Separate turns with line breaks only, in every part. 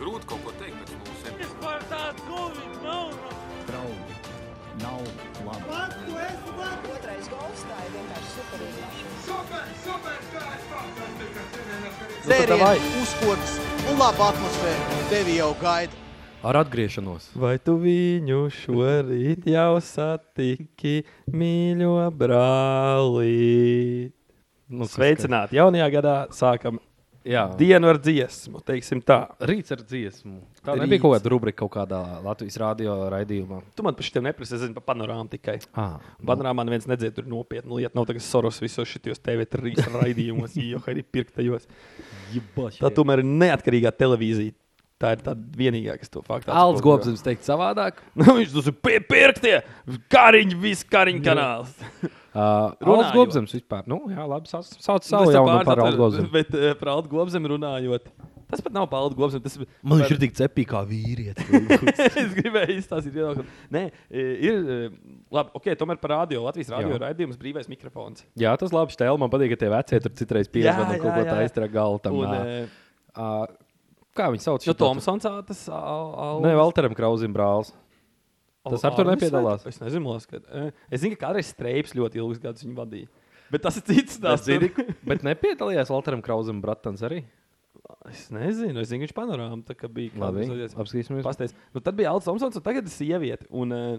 Grūti kaut ko teikt pēc mūsu
Es par tādu gulvi nav.
draugi nav labi.
Otrais gols tā ir vienkārši superīga.
Dzēriens, uzkodas un laba atmosfēra tevi jau gaida.
Ar atgriešanos.
Vai tu viņu šorīt jau satiki, mīļo brāli?
Nu, kas
Sveicināti! Jaunajā gadā sākam
ka- Jā,
dienu ar dziesmu, teiksim tā.
rīts ar dziesmu. Tā
Rīts.
Rīts. nebija kaut kāda rubrika kaut kādā Latvijas radio raidījumā.
Tu man par šitiem neprasi, es zinu par panorāmu tikai.
Ah,
Panorāmā neviens nedzird, tur nopietna lieta. Nav tagad soros visos šitos TV3 raidījumos, jo arī pirktajos.
jebāši.
Tā tomēr ir neatkarīgā televīzija. Tā ir tā vienīgā, kas to faktu
Alans
atspoguļo.
Gobsams teikt savādāk.
Nu, viņš tas ir pi- pirktie, kariņš, viss kariņš kanāls.
Uh, Alans
Runājot.
Gobsams vispār. Nu, jā, labi, sauc, sauc savu
Es te
jaunu par
pārtatu-
Alans Gobsams.
Bet eh, par Aldu Globzemu runājot. Tas pat nav par Aldu Globzemu. Tas par-
tik cepīgi kā vīrietis.
es gribēju izstāstīt, viedokli. Nē, e, ir e, labi. Okay, tomēr par radio Latvijas radio
Jā.
raidījums brīvais mikrofons.
jā, tas labi stēl. Man patīk, ka tie veci tur citreiz piezvan
Jā,
un kaut ko
jā,
tā
jā.
iztara galtam.
Un, Nu,
ā.
e,
Ā, Kā viņi sauc?
Jo
šito?
Tomsons ā, tas al,
Nē, Valteram Krausim brālis. tas ar to nepiedalās?
Es nezinu, man liekas, ka, e, es zinu, ka kādreiz streips ļoti ilgus gadus viņu vadīja. Bet tas ir cits
Es
stāsts.
zinu, bet nepiedalījās Valteram Krausim bratans arī.
es nezinu, es zinu, ka viņš panorāmā tā kā bija.
Labi,
kādreiz-
apskatīsimies.
Pastāst. Nu, tad bija Alans Thompsons, un tagad ir sieviete. Un, eh,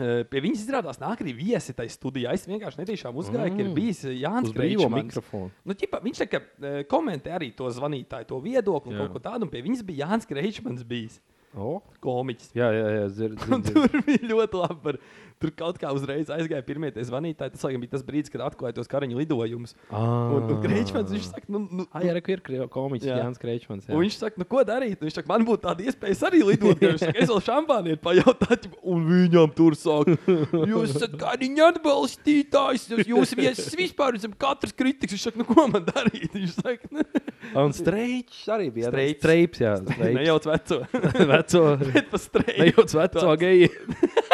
eh, Pie viņas izrādās, nāk arī viesi tajā studijā. Es vienkārši netīšām uzgāju, mm. ka ir bijis eh, Jānis
Uz brīvo
Krečmans.
mikrofonu.
Nu, ķipa, viņš tā kā eh, komentē arī to zvanītāju, to viedokli, un
Jā.
kaut ko tādu. un Pie viņas bija Jānis Krečmans, bijis
Oh.
komiķis.
Jā, jā, jā dzird,
Un
dzird, dzird.
Tur bija ļoti labi. Par, tur kaut kā uzreiz aizgāja pirmie tie zvanītāji. Tas laikam bija tas brīdis, kad atklāja tos kariņu lidojumus. Un, un Krečmans viņš saka, nu, nu,
Ah, jā, reku ir kri- komiķis
Jā.
Jānis Kreičmans.
Un viņš saka, nu, ko darīt? Un Viņš saka, man būtu tāda iespēja es arī lidot. jo Viņš saka, es vēl šampāniet pajautāju, un viņam tur saka, jūs esat kariņu atbalstītājs, jūs, jūs viesis vispār, jūs esat katrs kritikas. Viņš saka, nu, ko man darīt? Viņš saka, nu,
un streips arī bija.
Streičs.
Streips, jā.
nejauc veco.
veco.
Bet pa streiku.
Nejauc veco geju.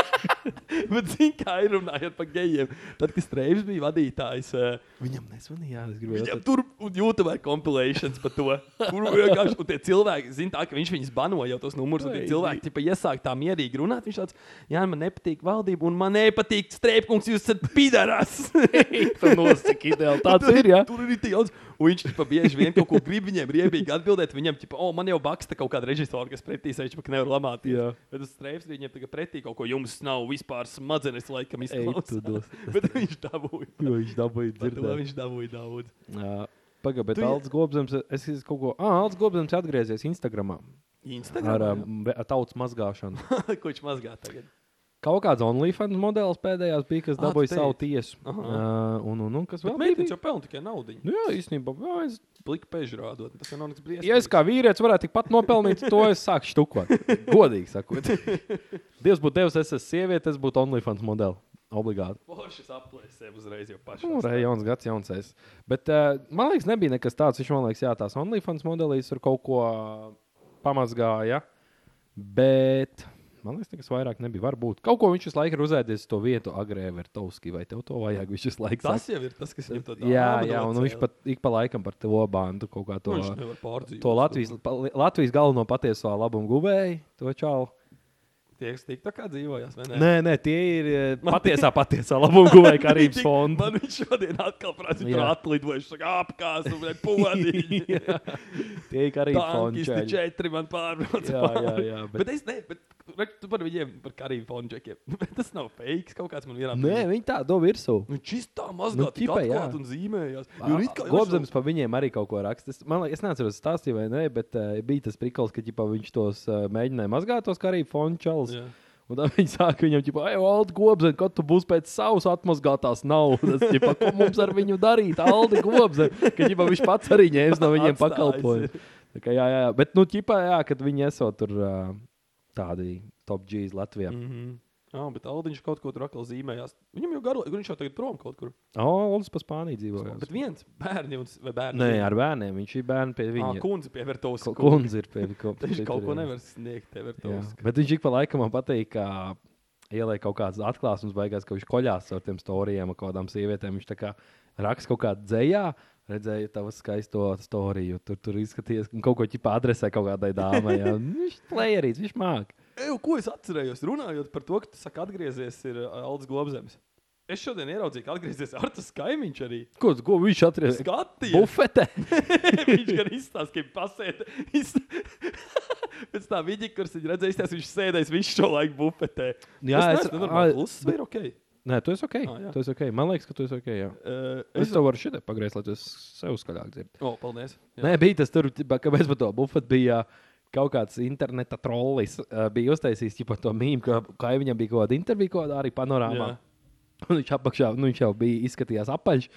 Bet zini, kā ir runājot par gejiem. Tad, kad Streivs bija vadītājs, eh, viņam nesvanīja.
es gribēju
Viņam tur YouTube kompilācijas par to, kur vienkārši un tie cilvēki, zina, tā, ka viņš viņus banoja jau tos numurus. un Tie cilvēki tipa, iesāk tā mierīgi runāt. Viņš tāds, jā, man nepatīk valdība, un man nepatīk streipkungs, jūs esat pidarās.
Tur nosaka ideāli. Tāds ir, jā.
Tur ir tik daudz. Un viņš tipa, bieži vien kaut ko grib viņiem riebīgi atbildēt. Viņam, tipo, o, man jau baksta kaut kāda režisora, kas pretī sēž, ka nevar lamāt.
Jā.
Bet tas strēps viņam tagad pretī kaut ko. Jums nav vispār smadzenes, laikam,
tu dos.
izklausās. Bet viņš dabūja.
Jo viņš dabūja
Par to viņš dabūja daudz.
Pagaid, bet
Tu-
Alts Gobzems, es es kaut ko... Ah, Alts Gobzems atgriezies Instagramā ar
Instagram.
um, ve- tautas mazgāšanu.
Ko viņš mazgā tagad?
Kaut kāds OnlyFans modelis pēdējās bija, kas
Ah, tu
dabūja savu
teici.
tiesu.
Aha.
Uh, Un, un, un kas vēl
Bet
bija?
meitene jau pelna tikai naudu.
Nu jā, īstenībā, jā, es,
Plika peži rādot. Tas jau nav nekas briesmīgs.
ja es kā vīrietis varētu tikpat nopelnīt, to es sāku štukot. Godīgi sakot, Dievs būtu devis, es esmu sieviete, es būtu OnlyFans modelis. Obligāti.
Poršas aplēsē uzreiz jau
Nu,
pašā.
re, jauns gads, jauns es. Bet uh, man liekas, nebija nekas tāds. Viņš man liekas, jā, tās OnlyFans modelis tur kaut ko eh, pamazgāja. Bet man liekas, nekas vairāk nebija. Varbūt kaut ko viņš visu laiku ir uzēdies to vietu agrēvertovski, vai tev to vajag visu laiku.
Tas jau ir tas, kas viņam to
Jā, jā, un nu viņš pat ik pa laikam par to bandu kaut kā to.
Nu, Viņš nevar pārdzīvot.
To Latvijas, pa- Latvijas galveno patieso labumu guvēju, to čau.
Tie, kas tik tā kā dzīvojās, vai ne?
Nē, nē, tie ir eh, patiesā, patiesā labumu guvēja Karības
Tik-
fonda.
Man viņš šodien atkal prasa,
Jā.
tur atlidojuši, saka, apkās, un pūlīši.
Tie ir Karības fonda.
Tankisti
čaļi.
četri man pārbrauc.
Jā, jā, jā,
Bet, bet es ne, bet, bet tu par viņiem, par karību fonu džekiem. Bet tas nav fake, kaut kāds man vienā.
Nē, viņi tā do virsū.
Nu, čistā
Nu,
mazgā, nu,
ķipa,
tikai
jā.
atklāt un zīmējās. Jo it kā jau
Gobsams par viņiem arī kaut ko raksta. Es, man, liekas- es nezinu, kas tas stāstīja vai nē, bet uh, bija tas prikals, ka ģipā, viņš tos uh, mēģināja mazgāt, tos Karību fonda čalus.
Jā.
Un tad viņi sāka viņam, ka, ej, Aldi, gobzem, kad tu būsi pēc savas atmazgātās naudas, ģipa, ko mums ar viņu darīt, Aldi, gobzem, ka ģipa, viņš pats arī ņēmis no viņiem
Atstājis.
pakalpojumu. Tā kā, jā, jā, jā, bet, nu, ģipā, jā, kad viņi esot tur ā, tādi top G's Latvijā. Mm.
Mhm. Jā, bet Aldiņš kaut ko tur atkal zīmējās. Viņam jau garo, viņš jau tagad prom kaut kur.
O, oh, Aldis pa Spāniju dzīvoja.
Bet viens bērni un, vai bērni?
Nē, ar bērniem, viņš ir bērni pie
viņa.
viņa.
Kundze pievērtos.
Ko- Kundze ir pie ko-
Viņš
pie
kaut ko
turienes.
nevar sniegt,
Jā,
pievērtos.
Bet viņš ik pa laikam man patīk, ka ielēk kaut kādas atklāsmes, beigās, ka viņš koļās ar tiem stāstiem, kaut kādām sievietēm. Viņš tā kā raksta kaut kādā dzējā. Redzēju tavu skaisto storiju. Tur, tur izskaties, ka kaut ko ķipā adresē kaut kādai dāmai. jā. Nu, Viņš plējerīs, viņš māk.
Eju, ko es atcerējos, runājot par to, ka tu saki, atgriezies ir uh, Aldis Globzems. Es šodien ieraudzīju, ka atgriezies Artas kaimiņš arī.
Ko, ko viņš atrada?
Skatījās,
Bufete.
viņš gan izstāstīja, ka pasēta. Pēc tā viņa, kuras viņa redzēja, izstās, viņš sēdēs visu šo laiku bufetē.
Jā, es-
nezinu,
ā,
normāli pluss vai ir ok.
Nē, tu esi ok.
Ā, jā.
Tu esi okay. Man liekas, ka tu esi ok. Jā.
Uh,
Ah, Es tev varu šitā pagriezt, lai tu sev skaļāk dzirdētu.
O, paldies. Jā.
Nē, bija tas tur, ķipa, kāpēc par to bufetu bija. Kaut kāds interneta trollis uh, bija uztaisījis jau to mīmīmu, ka kaimiņam bija kaut kāda intervija, kaut kāda arī panorāmā.
Jā.
Un Viņš apakšā, nu, viņš jau bija izskatījās apaļš.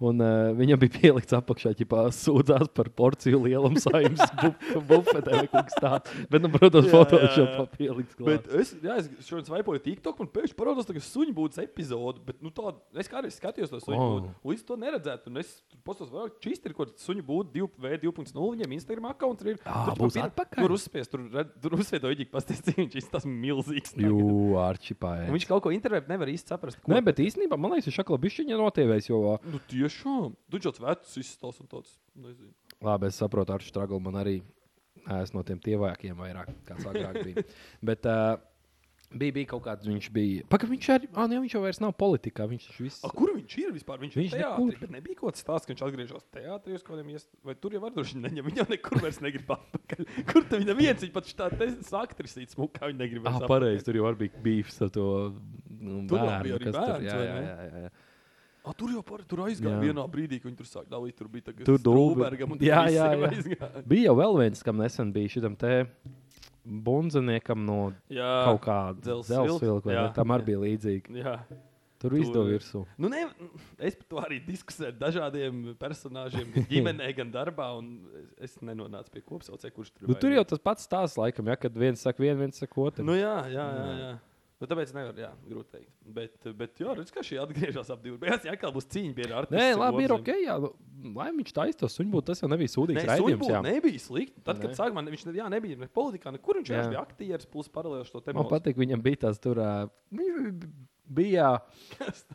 Un uh, viņam bija pielikts apakšā, ja sūdzās par porciju lielumu saimnes bu- bufetē. vai kaut kas tāds. Bet, nu, protams,
Jā,
fotošā
jā, jā.
jau papielikts.
Bet
klāt.
es, jā, es šodien svaipoju TikTok, un pēkšņi parādās tā, ka suņu būdas epizode. Bet, nu, tā, es kā arī skatījos to suņu
Oh.
būdu. Līdz to neredzētu. Un es tur postos, vairāk čīsti ir kaut kāds suņu būdu 2.0. Viņiem Instagram akkaunts ir.
Ā,
Tur,
būs
tur, pie-
atpakaļ?
Tur uzspiest, tur, red- tur uzspiest, to iģik pastāstīt. Viņš izskatās milzīgs. tagad.
Jū, ārčipā.
Un Viņš kaut ko intervijā nevar īsti saprast. ko-
Nē, bet īstenībā man liekas, viņš šakla bišķiņa notievēs, jo ā,
Nu, tiešām. Duģis vecs izstāsta un tāds. Nezinu.
Labi, es saprotu, ar strāgu man arī es no tiem tievākiem vairāk, kāds agrāk bija. Bet uh, bija, bija kaut kāds, viņš bija. Paka, viņš, arī, ah, ne, viņš jau vairs nav politikā. Viņš taču viss.
A, kur viņš ir vispār?
Viņš
Viņš, viņš ir teātrī,
nekur.
bet nebija kaut kāds stāsts, ka viņš atgriežas teātrī uz kaut kādiem iest... vai tur jau var droši vien neņemt. Viņa nekur vairs negrib atpakaļ. Kur tad viņa viens, viņa pat tā saktrisīt smukā, viņa negrib
Ah,
vairs
pareizi, tur jau arī bija beefs ar to nu,
Tur jau
bērnu,
bija arī
kas tur-
bērns,
jā,
vai
jā,
ne?
jā, jā, jā.
atpakaļ. A, tur jau par, tur aizgāja
Jā.
jā. vienā brīdī, kad viņi tur sāk dalīt. Tur bija
Tur
tagad
Dulbe-
Dulbergam un
Jā,
tur
jā,
visiem
jā.
aizgāja.
Bija jau vēl viens, kam nesen bija šitam te bundzeniekam no
Jā.
kaut kāda
Dzels
dzelzceļa,
vilka,
vai ne?
jā.
tam arī bija līdzīga.
Jā.
Tur viss
Tur-
bija virsū.
Nu, ne, es par to arī diskusēju ar dažādiem personāžiem, gan ģimenē, gan darbā. un Es es nenonācu pie kopsaucēja, kurš
Nu,
tur vainīgs.
tur jau tas pats stāsts, laikam, ja, kad viens saka vienu, viens saka otru.
Nu, jā, jā, jā. jā. Nu, tāpēc nevar, jā, grūti teikt. Bet, bet jā, redz, ka šī atgriežas ap diviem. Jā, kā būs cīņa pie ar
Nē, labi, ir ok. Jā, nu, lai viņš taisno suņbūtu, tas jau nebija sūdīgs
Nē,
raidījums.
suņbūtu
jā.
nebija slikti. Tad, kad
Nē.
sākumā ne- viņš ne, jā, nebija ne politikā, nekur viņš
Jā.
vienkārši bija aktieris, plus paralēlies to tēmu.
Man patīk, viņam bija tas tur. ā, Viņš bija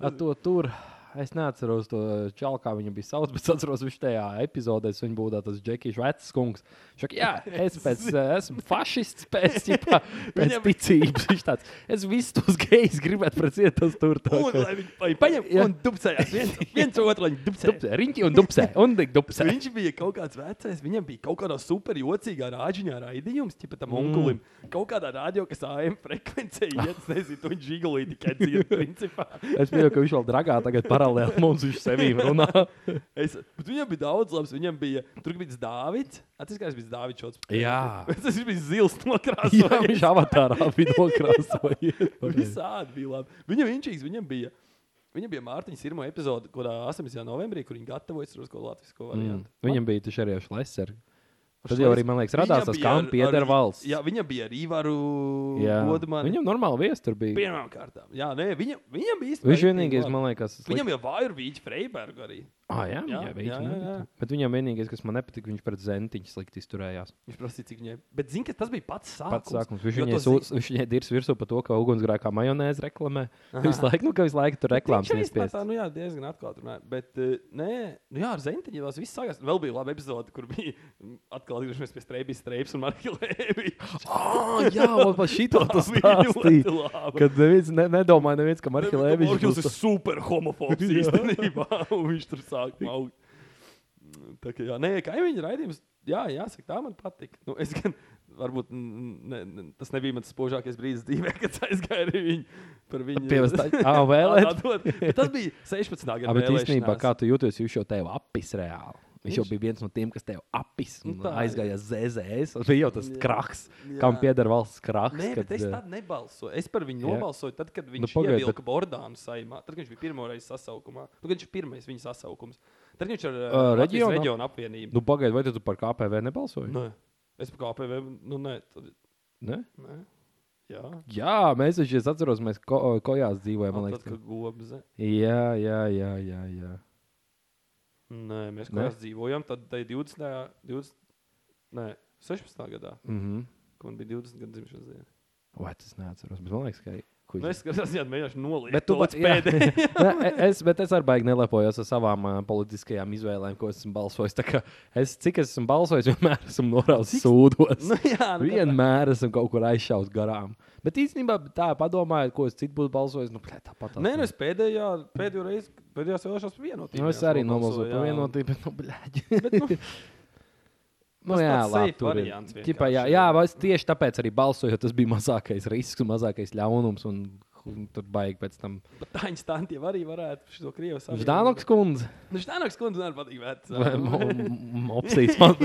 ar to tur. Es neatceros to čalu, kā viņu bija sauc, bet es atceros, viņš tajā epizodē viņa būtu tas Džekijs Vecs kungs. Viņš saka, jā, es pēc, ā, esmu fašists pēc, ķipā, pēc
Viņam-
ticības. Viņš tāds, es visus tos gejus gribētu precēt, tas tur tā
Un,
kā-
lai viņi pa- paņem,
Jā.
un dupcējās viens, viens otru, lai viņi dupcējās.
Dupsē, riņķi un dupsē, un tik dupsē.
Viņš bija kaut kāds vecais, viņam bija kaut kādā super jocīgā rāģiņā raidījums, tipā
Mm.
tam onkulim. Kaut kādā radio, kas AM frekvencē, ja tas nezinu, to viņš žigulīja tikai dzīvi, principā.
Es pieņemu, ka viņš vēl dragā tagad paralēli mums viņš sevī runā.
Es, bet viņam bija daudz labs. Viņam bija tur bija Dārvids. Atcerieties, kā bija Dārvids šāds.
Jā.
tas bija zils
Jā,
nokrāsojums.
viņš avatārā bija nokrāsojis.
Visādi bija labi. Viņam inčīgs, viņam bija. Viņam bija Mārtiņas pirmā epizode, kurā 18. novembrī, kur viņi gatavojas uz kaut ko latviešu
Mm,
variantu.
Viņam bija taču arī šleser. Tad jau arī, man liekas, radās
Viņam
tas
bija
kam
ar-
pieder
ar-
valsts.
Jā, viņam bija arī Ivaru
Jā.
Godmanu.
Viņam normāli viestur bija.
pirmām kārtām. Jā, nē, viņam, viņam bija īstenībā.
Viņš vienīgais, man liekas, tas
Viņam jau vāja ir Vīķa Freiberga arī.
Ah, jā, jā,
Jā,
jā, jā,
jā,
jā.
jā.
Bet viņam vienīgais, kas man nepatika, viņš pret zentiņu slikti izturējās.
Viņš prasīja, cik viņai. Bet, zini, ka tas bija pats sākums.
Pats sākums. Viņš
Ah, Jo
viņai
to zi-
sūdz- viņš viņai dirs virsū par to, ka ugunsgrēkā majonēzi reklamē. Visu laiku, nu, ka visu laiku tur reklāmas
Viņš arī
iespējas.
tā, nu jā, diezgan atklāti runāja. Bet, eh, nē, nu jā, ar Zentiņu tas viss sākās. Vēl bija laba epizode, kur bija mm, atkal atgriežamies pie strēbijas, strēbijas un Marķelēvis.
Ah, jā, man pat šī tā tas
ļoti
stāstīja.
labi.
Kad neviens ne, nedomāja, neviens, ka Marķelēvičs
Marķelēvis
būs
ir super homofobs
Jā.
īstenībā, un viņš tur sāk maukt. Tā kā, jā, nē, kaimiņu raidījums, jā, jāsaka, tā man patika. Nu, es gan, varbūt, mm, ne, ne, tas nebija mans spožākais brīdis dzīvē, kad aizgāju arī viņu par viņu.
Pievestā- Ā, vēlēt?
Atdot. Bet tas bija 16.
Jā,
gada
bet īstenībā,
vēlēšanās.
kā tu jūties, viņš jau tevi apis reāli. Viņš jau
Viņš-
bija viens no tiem, kas tev apis un
Nu tā,
aizgāja ZZS. Tas bija jau tas
Jā.
kraks,
Jā.
kam pieder valsts kraks.
Nē, bet
kad,
es
eh,
tādu nebalsoju. Es par viņu
Jā.
nobalsoju, tad, kad viņš nu,
pagaid,
ievilka bet... Bordānu saimā. Tad, kad viņš bija pirmo reizi sasaukumā, nu, kad viņš bija pirmais viņa sasaukums. Tad viņš ar uh,
Ā,
Latvijas
reģiona?
reģionu apvienību.
Nu, pagaidi, vai tu par KPV nebalsoji?
Nē, es par KPV, nu, nē, tad,
Ne?
nē. Jā,
Jā, mēs taču, es atceros, mēs ko, kojās dzīvojām. man
man
liekas,
liekas, ka gobze.
Jā, jā, jā, jā. jā.
Nē, mēs
Nē?
kā dzīvojam, tad tai 20. 20 nē, 16. gadā,
Mm -hmm.
kad man bija 20 gadu dzimšanas diena.
Vai tas neatceros? Bet man liekas, ka kuģi.
Nu, es skatos, jā, mēģināšu nolikt.
Bet tu
to
pats
līdz pēdējai.
pēdējais. es, bet es arī baigi nelepojos ar savām uh, politiskajām izvēlēm, ko esmu balsojis. Tā kā Es, cik es esmu balsojis, vienmēr esmu norādījis sūdos.
Nu, jā, nu,
vienmēr esmu kaut kur aizšaut garām. Bet īstenībā tā, padomājiet, ko es citu būtu balsojis. Nu, plē, tāpat.
Nē, nu es pēdējā, pēdējo reizi, pēdējās vēlēšanās par vienotību.
nu, es
jā,
arī nobalsoju
nobalsoju, jā.
par vienotību, bet, nu, blēģi.
Bet, nu,
Nu,
Tas
jā,
tāds
labi.
safe
Tur ir.
variants
Ķipā, jā,
vienkārši,
jā,
jā.
vai es tieši tāpēc arī balsoju, jo tas bija mazākais risks un mazākais ļaunums. Un, un tur baigi pēc tam.
pat Taņš Tantiev arī varētu šo Krievu savienību.
Ždānoks kundze.
Nu, Ždānoks kundze man patīk vecā.
Mopsīs. man-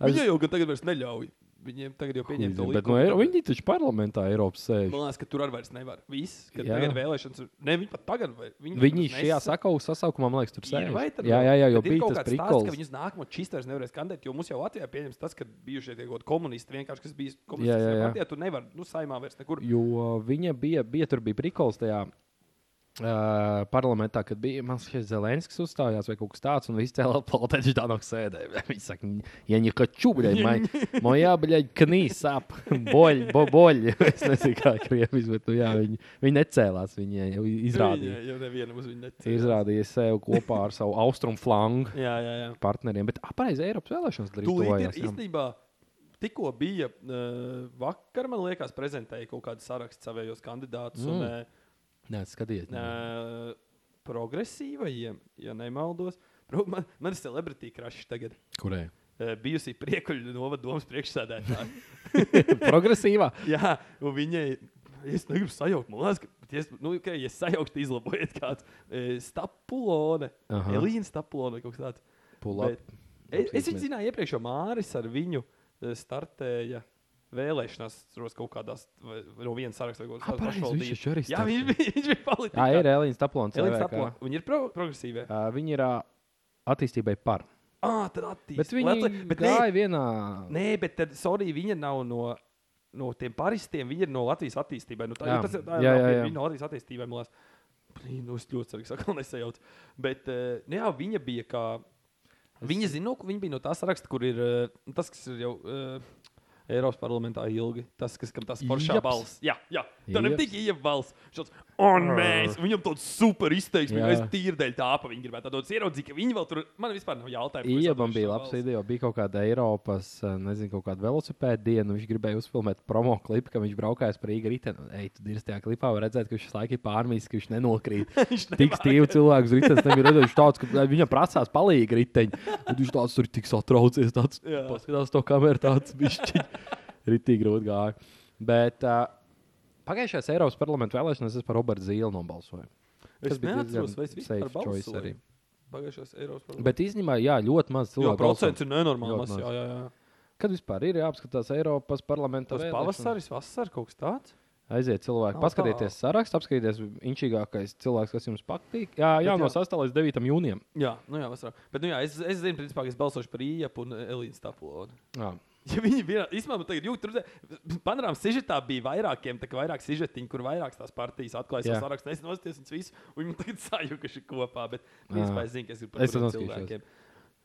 Viņa jau gan tagad vairs neļauj. Viņiem tagad jau pieņem to Nu,
Bet no
likumu.
Eiro, viņi taču parlamentā Eiropas sēž.
Man liekas, ka tur arī vairs nevar. Viss, kad
Jā.
tagad vēlēšanas, ir- ne, viņi pat tagad, vai- viņi,
Viņi
pat
šajā
nesa-
sakau, sasaukumā, man liekas, tur
Ir,
sēž.
vai tad
Jā,
nav?
jā, jā, jo
Bet ir
bija
kaut
tas
kāds stāsts, ka
prikols.
viņus nākamo čīstu vairs nevarēs kandidēt, jo mums jau Latvijā pieņems tas, ka bijušie tie kaut kādi komunisti vienkārši, kas bija
Jā, jā,
komunistiskajā
jā.
partijā, tu nevar, nu, saimā vairs nekur.
Jo uh, viņa bija, bija tur bija prikols tajā uh, parlamentā, kad bija Maskavs Zelenskis uzstājās vai kaut kas tāds, un viss cēlās plakāts Dānok sēdē. Viņš saka, ja viņa kaču, bļaļ, mojā, bļaļ, knīs ap, boļ, bo, boļ. Es nezinu, kā krievis, bet nu, jā, viņi, viņi necēlās, viņi jau izrādīja.
Viņa jau neviena uz viņu necīnās.
Izrādīja sev kopā ar savu austrumu flangu
Jā, jā, jā.
partneriem, bet apreiz Eiropas vēlēšanas
Tūlīt ir
darīja.
īstenībā. Tikko bija uh, vakar, man liekas, prezentēja kaut kādu sarakstu savējos kandidātus. Mm. Un,
Mm. Nē, skatiet.
uh, uh, progresīvajiem, ja nemaldos, Pro, man, man ir celebrity crush tagad.
Kurai?
Uh, bijusi priekuļu novadomas priekšsēdētāja.
Progresīvā.
Jā, un viņai. Es negribu sajaukt, man liekas, ka, ja es, nu, ka, ja es sajauktu, izlabojiet kādu e, stapulone,
Aha.
Elīna stapulone, kaut kas tāds.
Pull up.
Bet e, Es, es viņu zināju iepriekš, jo Māris ar viņu e, startēja. Vēlēšanās, protams, kaut kādās vai- no vienas sarakstā, ko
Ah, pareizi, viņš taču arī
Jā, viņš bija, viņš bija palicis.
Jā, ir Elīna Staplons.
Elīna
CVK.
Staplone. Viņa ir pro progresīvā.
Ā, Viņi ir ā, attīstībai par.
Ah, tad attīstīt.
Bet viņi
bet nē,
gāja vienā.
Nē, bet tad, sorry, viņa nav no, no tiem paristiem, viņa ir no Latvijas attīstībai. Nu, tā, jā,
Jā.
tas, ir- tā,
Jā,
jā,
jā,
jā,
jā.
Viņa no Latvijas attīstībai, man liekas, Blīn, nu, es ļoti ceru, ka sakal nesajaucu. Bet, eh, nu, jā, viņa bija kā. Viņa zina, ka viņa bija no tā saraksta, kur ir eh, nu, tas, kas ir jau. eh, Eiropas parlamentā ilgi. Tas, kas kam tas foršā
Jeps.
balss. Jā, jā. tā nav
Jeps.
tik ieja balss. Šāds, un mēs, viņam tāds super izteiksmi, ka
Jā.
es tīri dēļ tā apa viņa gribētu. Tad ieraudzīju, ka viņi vēl tur, man vispār nav jautājumu. ko es
Iemam
atrodu
bija
šā
labs
balss.
video. Bija kaut kāda Eiropas, ā, nezinu, kaut kāda velosipēda diena. Viņš gribēja uzfilmēt promo klipu, ka viņš braukājās par īgu riteni. Un, Ej, tu dirzi tajā klipā, var redzēt, ka viņš visu laiku ir pārmīs, ka viņš nenokrīt. Tik stīvi cilvēks ritenis nebija redzējis. Viņš tāds, ka viņam prasās palīgi riteņi. Un Viņš tāds tur ir tik satraucies, tāds
Jā.
paskatās to kameru, tāds bišķiņ. Ritīgi grūti gāja. Bet uh, pagājušajās Eiropas parlamentu vēlēšanās es par Robertu Zīlu nobalsoju.
Es
Tas bija
neatceros,
diezgan
vai es vispār
safe choice
balsoju.
arī.
Pagājušās Eiropas parlamenta.
Bet īstenībā, jā, ļoti maz
Jo
cilvēku.
procents
balso.
ir nenormāli.
Ļoti
mazs,
maz.
Jā, jā, jā.
Kad vispār ir jāapskatās Eiropas parlamenta
Tas
vēlēšanas?
pavasaris, vasars kaut kas tāds.
Aiziet, cilvēki,
Nav
paskatieties sarakstu, apskatieties, inčīgākais cilvēks, kas jums patīk. Jā, jā no
jā.
6. līdz 9. jūnijam.
Jā, nu jā, vasarā. Bet nu jā, es, es zinu, principā, ka es balsošu par Iepu un Elīnu Stapulonu.
Jā.
Ja viņi vienā, īstenībā, man tagad jūt, tur bija panorāmas sižetā, bija vairākiem, tā kā vairāk sižetiņu, kur vairākas tās partijas atklāja
Jā.
savu sarakstu. Es nostājos viņus visus, un viņi man tagad sajukuši kopā, bet
Jā.
principā es zinu, ka Ah.
Es
es gribu par kuriem
to noskatīšos.
cilvēkiem.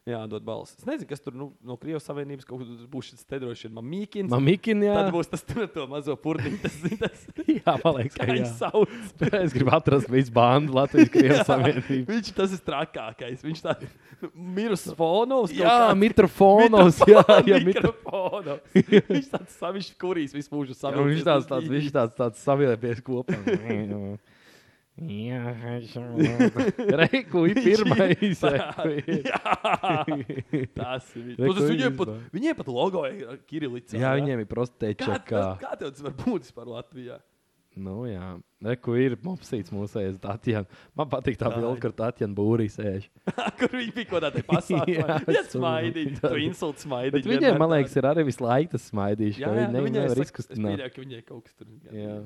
Jā, dod balsis. Es nezinu, kas tur nu, no Krievijas Savienības kaut kur būs šis te droši vien mamīkins.
Mamikini, jā.
Tad būs tas tur ar to mazo purtiņu, tas ir tas,
Jā, man liekas,
kā
ka jā.
viņš sauc.
Es gribu atrast visu bandu Latvijas-Krievijas Savienību.
Viņš tas ir trakākais. Viņš tāds mirus fonos. kaut
Jā,
kāds.
mitrofonos, jā, jā, mitrofonos.
mikrofonos. Viņš tāds savišķis, kurīs visu mūžu
Jā, nu,
savišķis.
viņš tāds, tāds, viņš tāds, tāds savienojies kopā. Jā, Reikli pirmais. Reikli.
Tas ir viņš.
Re,
Nu,
ko
Tas viņiem
viņš
pat,
izdomā?
viņiem pat logo ir Kirillīts.
Jā, viņiem ir prostēča.
Kā, tas- kā tev tas var būt vispār Latvijā?
Nu, jā, reku ir mopsīts mūsējais Tatjana. Man patīk tā bilde, kur Tatjana būrī sēž.
Kur viņi bija kaut kādā te pasākumā?
Jā,
Jā,
es
smaidīt,
saprotu.
tu
Bet
insults smaidīt.
viņiem, man liekas, ir arī visu laiku tas smaidīšs, ka viņi ne- nevar
nu, Es
izkustināt.
pieļauju, ka viņai kaut kas tur
Jā.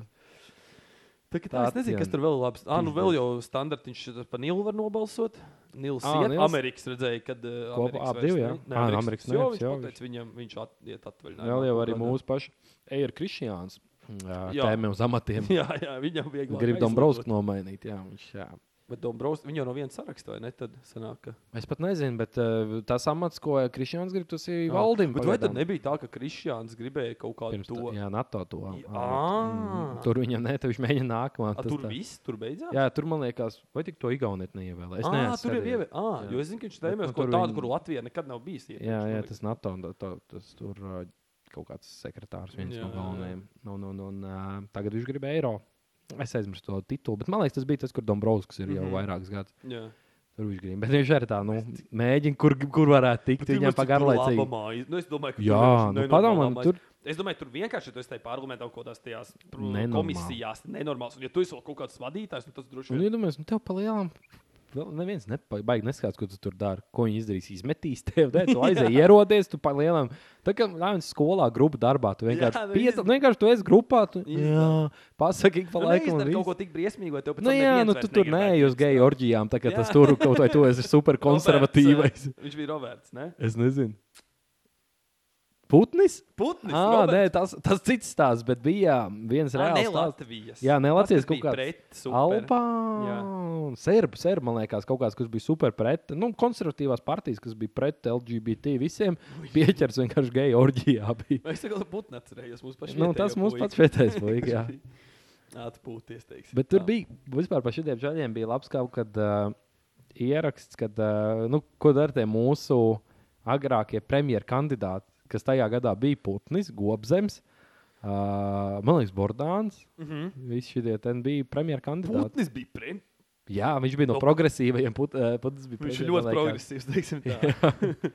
Tā, tā, es nezinu, kas
Tātjana.
tur vēl ir labs. Ah, nu vēl jau standartiņš tas par Nilu var nobalsot. Nils
Ā,
ir
Ah, Nils.
Amerikas redzēja, kad uh,
Kopā
Amerikas
ap
vairs
divi, jā?
ne-
Ā,
Nē,
nu,
Amerikas
Amerikas
jau
nevis,
viņš
jā,
pateica, viņam viņš at- iet atvaļinājumā.
Vēl jau arī
Nākamgad.
mūsu paši Eir Krišjāns. Jā,
Jā.
tēmiem uz amatiem.
Jā, jā, viņam vajag.
Grib Dombrovskis nomainīt. Jā, viņš, jā.
Bet Dombrovs, viņi jau no vienas saraksta, vai ne? Tad sanāk, ka.
Es pat nezinu, bet eh, tas amats, ko Krišņāns grib, tas ir
Jā.
valdība.
Bet vai tad nebija tā, ka Krišjāns gribēja kaut kādu
Pirms
to?
to. Jā, NATO to. mm,
Ā.
Tur viņam ne, tad viņš mēģina nākamā.
A,
tas
tur
tā.
viss, tur beidzās.
Jā, tur man liekas, vai tik to Igauniet neievēlē. Es
Ā,
nezinu,
tur jau ir ievēlēts. Ah,
Jā.
jo es zinu, ka viņš
Bet, nu,
tēmēs kaut
tur
tādu,
viņi-
kur Latvija nekad nav bijusi. iepriekš,
Jā,
man
jā
liekas.
tas NATO un tā- tā- tas tur ā, kaut kāds sekretārs, viens jā,
Jā,
no
jā.
galvenajiem. Un, un, un, ā, tagad viņš grib eiro. Es aizmirsu to titulu, bet man liekas, tas bija tas, kur Dombrovskis ir jau mm
Mhm.
-hmm. vairākus gadus.
Jā.
Tur viņš grib. Bet viņš arī tā, nu, mēģina, kur, kur varētu tikt.
Bet
Viņam
jums tur laba
pagarlaicīgi.
māja. Nu, es domāju, ka tur
Jā,
vienkārši
nu,
nenormālā
padomā, nu,
māja.
tur
Es domāju, tur vienkārši tur ir tajā parlamentā kaut kādās tajās pr-
Nenormāli.
komisijās, nenormāls. Un, ja tu esi vēl kaut kāds vadītājs, nu, tas droši
Un
vien ir.
iedomājieties, nu tev pa lielām. Vēl neviens nebaidās, neskatās, ko tu tur dari. Ko viņi izdarīs? Izmetīs tevi, tad tu aizēji, ierodies, tu pa lielām. Tā kā lēns skolā, grupu darbā, tu vienkārši
Jā, nu,
pieci.
izd-
Vienkārši tu esi grupā, tu
Izd-
jā, pasaki, ik pa
Nu,
laikam.
neizdara
un
kaut ko
viss.
tik briesmīgu, vai tev pēc
Nu,
tam
jā,
neviens
nu
vairs
tu tur
negribētu.
neej uz geju orģijām, tā kā
Jā.
tas tur kaut vai tu esi
Roberts,
superkonservatīvais.
eh, Viņš bija Roberts. Ne?
Es nezinu. Putnis?
Putnis.
Ah, nē, tas, tas cits stāsts, bet bija um, viens reāls
Nē,
stāsts.
Latvijas.
Jā, ne Latvijas
Tas, kas
kaut
bija
kāds
pret super.
Albāņu. Serbu, serbu, man liekas, kaut kāds, kas bija super pret, nu, konservatīvās partijas, kas bija pret LGBT visiem, pieķers vienkārši geju orģijā. Bija.
Nu, Es tikai putnu atcerējos. Mums pašiem
Nu, tas mums pats vietējais puisis, jā.
Atpūties, teiksim.
Bet tur
tā.
bija, vispār par šiem žaļiem bija labs kaut kad uh, ieraksts, kad, uh, nu, ko dara tie mūsu agrākie premjerkandidāti, kas tajā gadā bija Putnis, Gobzems, uh, man liekas, Bordāns. Mm -hmm.
Mhm.
Visi šie ten bija premjerkandidāti.
Putnis bija prim.
Jā, viņš bija no,
No-
no progresīvajiem. Put, eh, putns bija
Viņš
prezidenta
ir ļoti
laikā.
progresīvs, teiksim tā.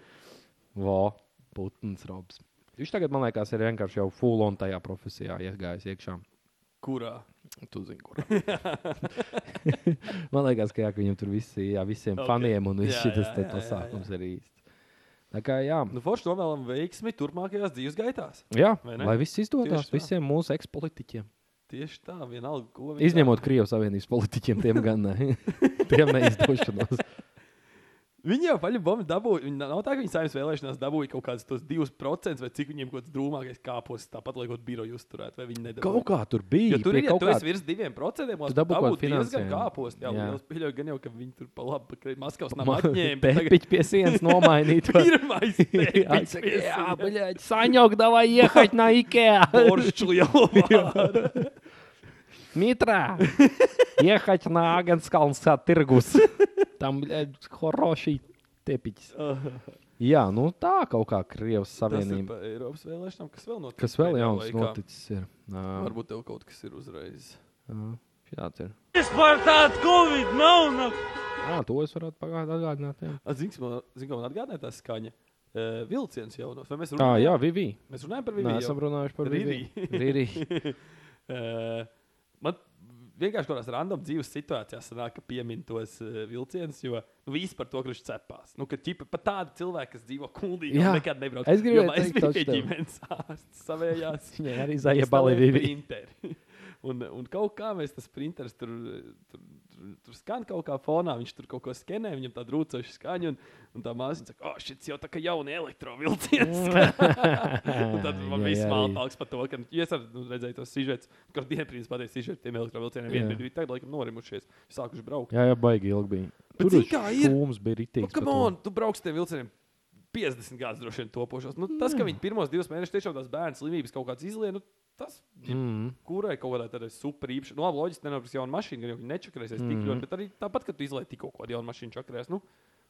Vo, putns, robs. Viņš tagad, man liekas, ir vienkārši jau full on tajā profesijā iegājis iekšā.
Kurā?
Tu zini, kur. man liekas, ka, jā, ka viņam tur visi, jā, visiem
Ok.
okay. faniem un viss
Jā,
šis
jā,
te
jā, jā,
pasākums ir īsts. Tā kā jā,
Nu, forši novēlam veiksmi turpmākajās dzīves gaitās.
jā
vai ne?
lai viss izdodas
Tieši tā.
visiem mūsu ekspolitiķiem.
Tieši tā, vienalga, ko viņi
Izņemot Krievijas Savienības politiķiem, tiem gan ne. tiem neizdošanos.
dara. Viņi jau paļu bombu dabūja. Viņi nav tā, ka viņi saimnes vēlēšanās dabūja kaut kādus tos 2% vai cik viņiem kaut kāds drūmākais kāpos, tāpat lai kaut biroju uzturētu, vai viņi nedabūja.
Kaut kā tur bija.
Jo tur
pie
ir, ja
kaut
tu
kā-
esi virs diviem procentiem,
Tu
tad
dabū
dabū
kaut
kaut
kādu
diezgan
finansējumu.
kāpost. Jā,
Jā.
jā. es pieļauju, gan jau, ka viņi tur pa labi, ka Maskavas nav
Man-
atņēma. bet tagad
Tepiķi pie sienas nomainīt. vai-
Pirmais,
Jā,
jā,
блядь, Санек, давай ехать на Икеа.
Boršs lielā.
Митра, ехать на Агенскалнса Тыргус. Там, блядь, хороший тепить. Jā, nu tā kaut kā Krievijas
Tas ir
Savienība.
pa Eiropas vēlēšanām, kas vēl notiek.
Kas vēl
pēdējā
jauns
laikā?
noticis? Ir. Nā,
Varbūt tev kaut kas ir uzreiz.
nā, šāds ir.
Es pārstāstu Covid, nav nav.
Ā, to es varētu pagātnē atgādināt. Jā,
Zinu, kā man atgādināja tā skaņa. Uh, vilciens jaunos. Vai mēs
à,
runājam,
jā Vivi.
mēs runājam par
Nē, esam
Viviju?
runājuši par Vivi.
Riri.
Riri.
Uh, man vienkārši kaut kādās random dzīves situācijās sanāk, ka piemin tos uh, vilcienus, jo nu, viss par to, ka viņš cepās. Nu, ka ķipa pat tādi cilvēki, kas dzīvo kuldīgi,
Jā.
nekad nebrauc.
Es gribēju
Jo man-
teikt
es biju
tieši
pie
tev.
ģimenes ārsts savējās.
Viņai arī zajabali Vivi.
printeri. Un, un kaut kā mēs tas printeris tur, tur, tur, tur skan kaut kā fonā, viņš tur kaut ko skenē, viņam tāda rūcoša skaņa, un, un tā māsa saka, oh, šis jau tā kā jauna elektrovilciens. un tad
Jā,
man bija
jā, jā.
smalks par to, ka nu, ja es ar- nu, redzēju tos sižets, kur dienas pateicis sižets tiem elektrovilcieniem,
Jā.
viena bija tagad laikam norimušies, sākuši braukt.
Jā, jā, baigi ilgi bija.
Bet
Tur
zini, kā ir?
šūms bija
Nu,
ritīgs.
come on, tu brauks tiem vilcieniem. 50 gadus droši vien topošos. Nu, tas, ka viņi pirmos divus mēnešus tiešām tās bērnu slimības kaut kādas izlien, nu, tas
Mm.
kurai kaut kādā tādā superīpašā, nu, labi, loģiski nenopirks jaunu mašīnu, jo viņi nečakarēsies mm. tik
Mhm.
ļoti, bet arī tāpat, ka tu izlaiž tikko kaut kādu jaunu mašīnu čakarēs. Nu,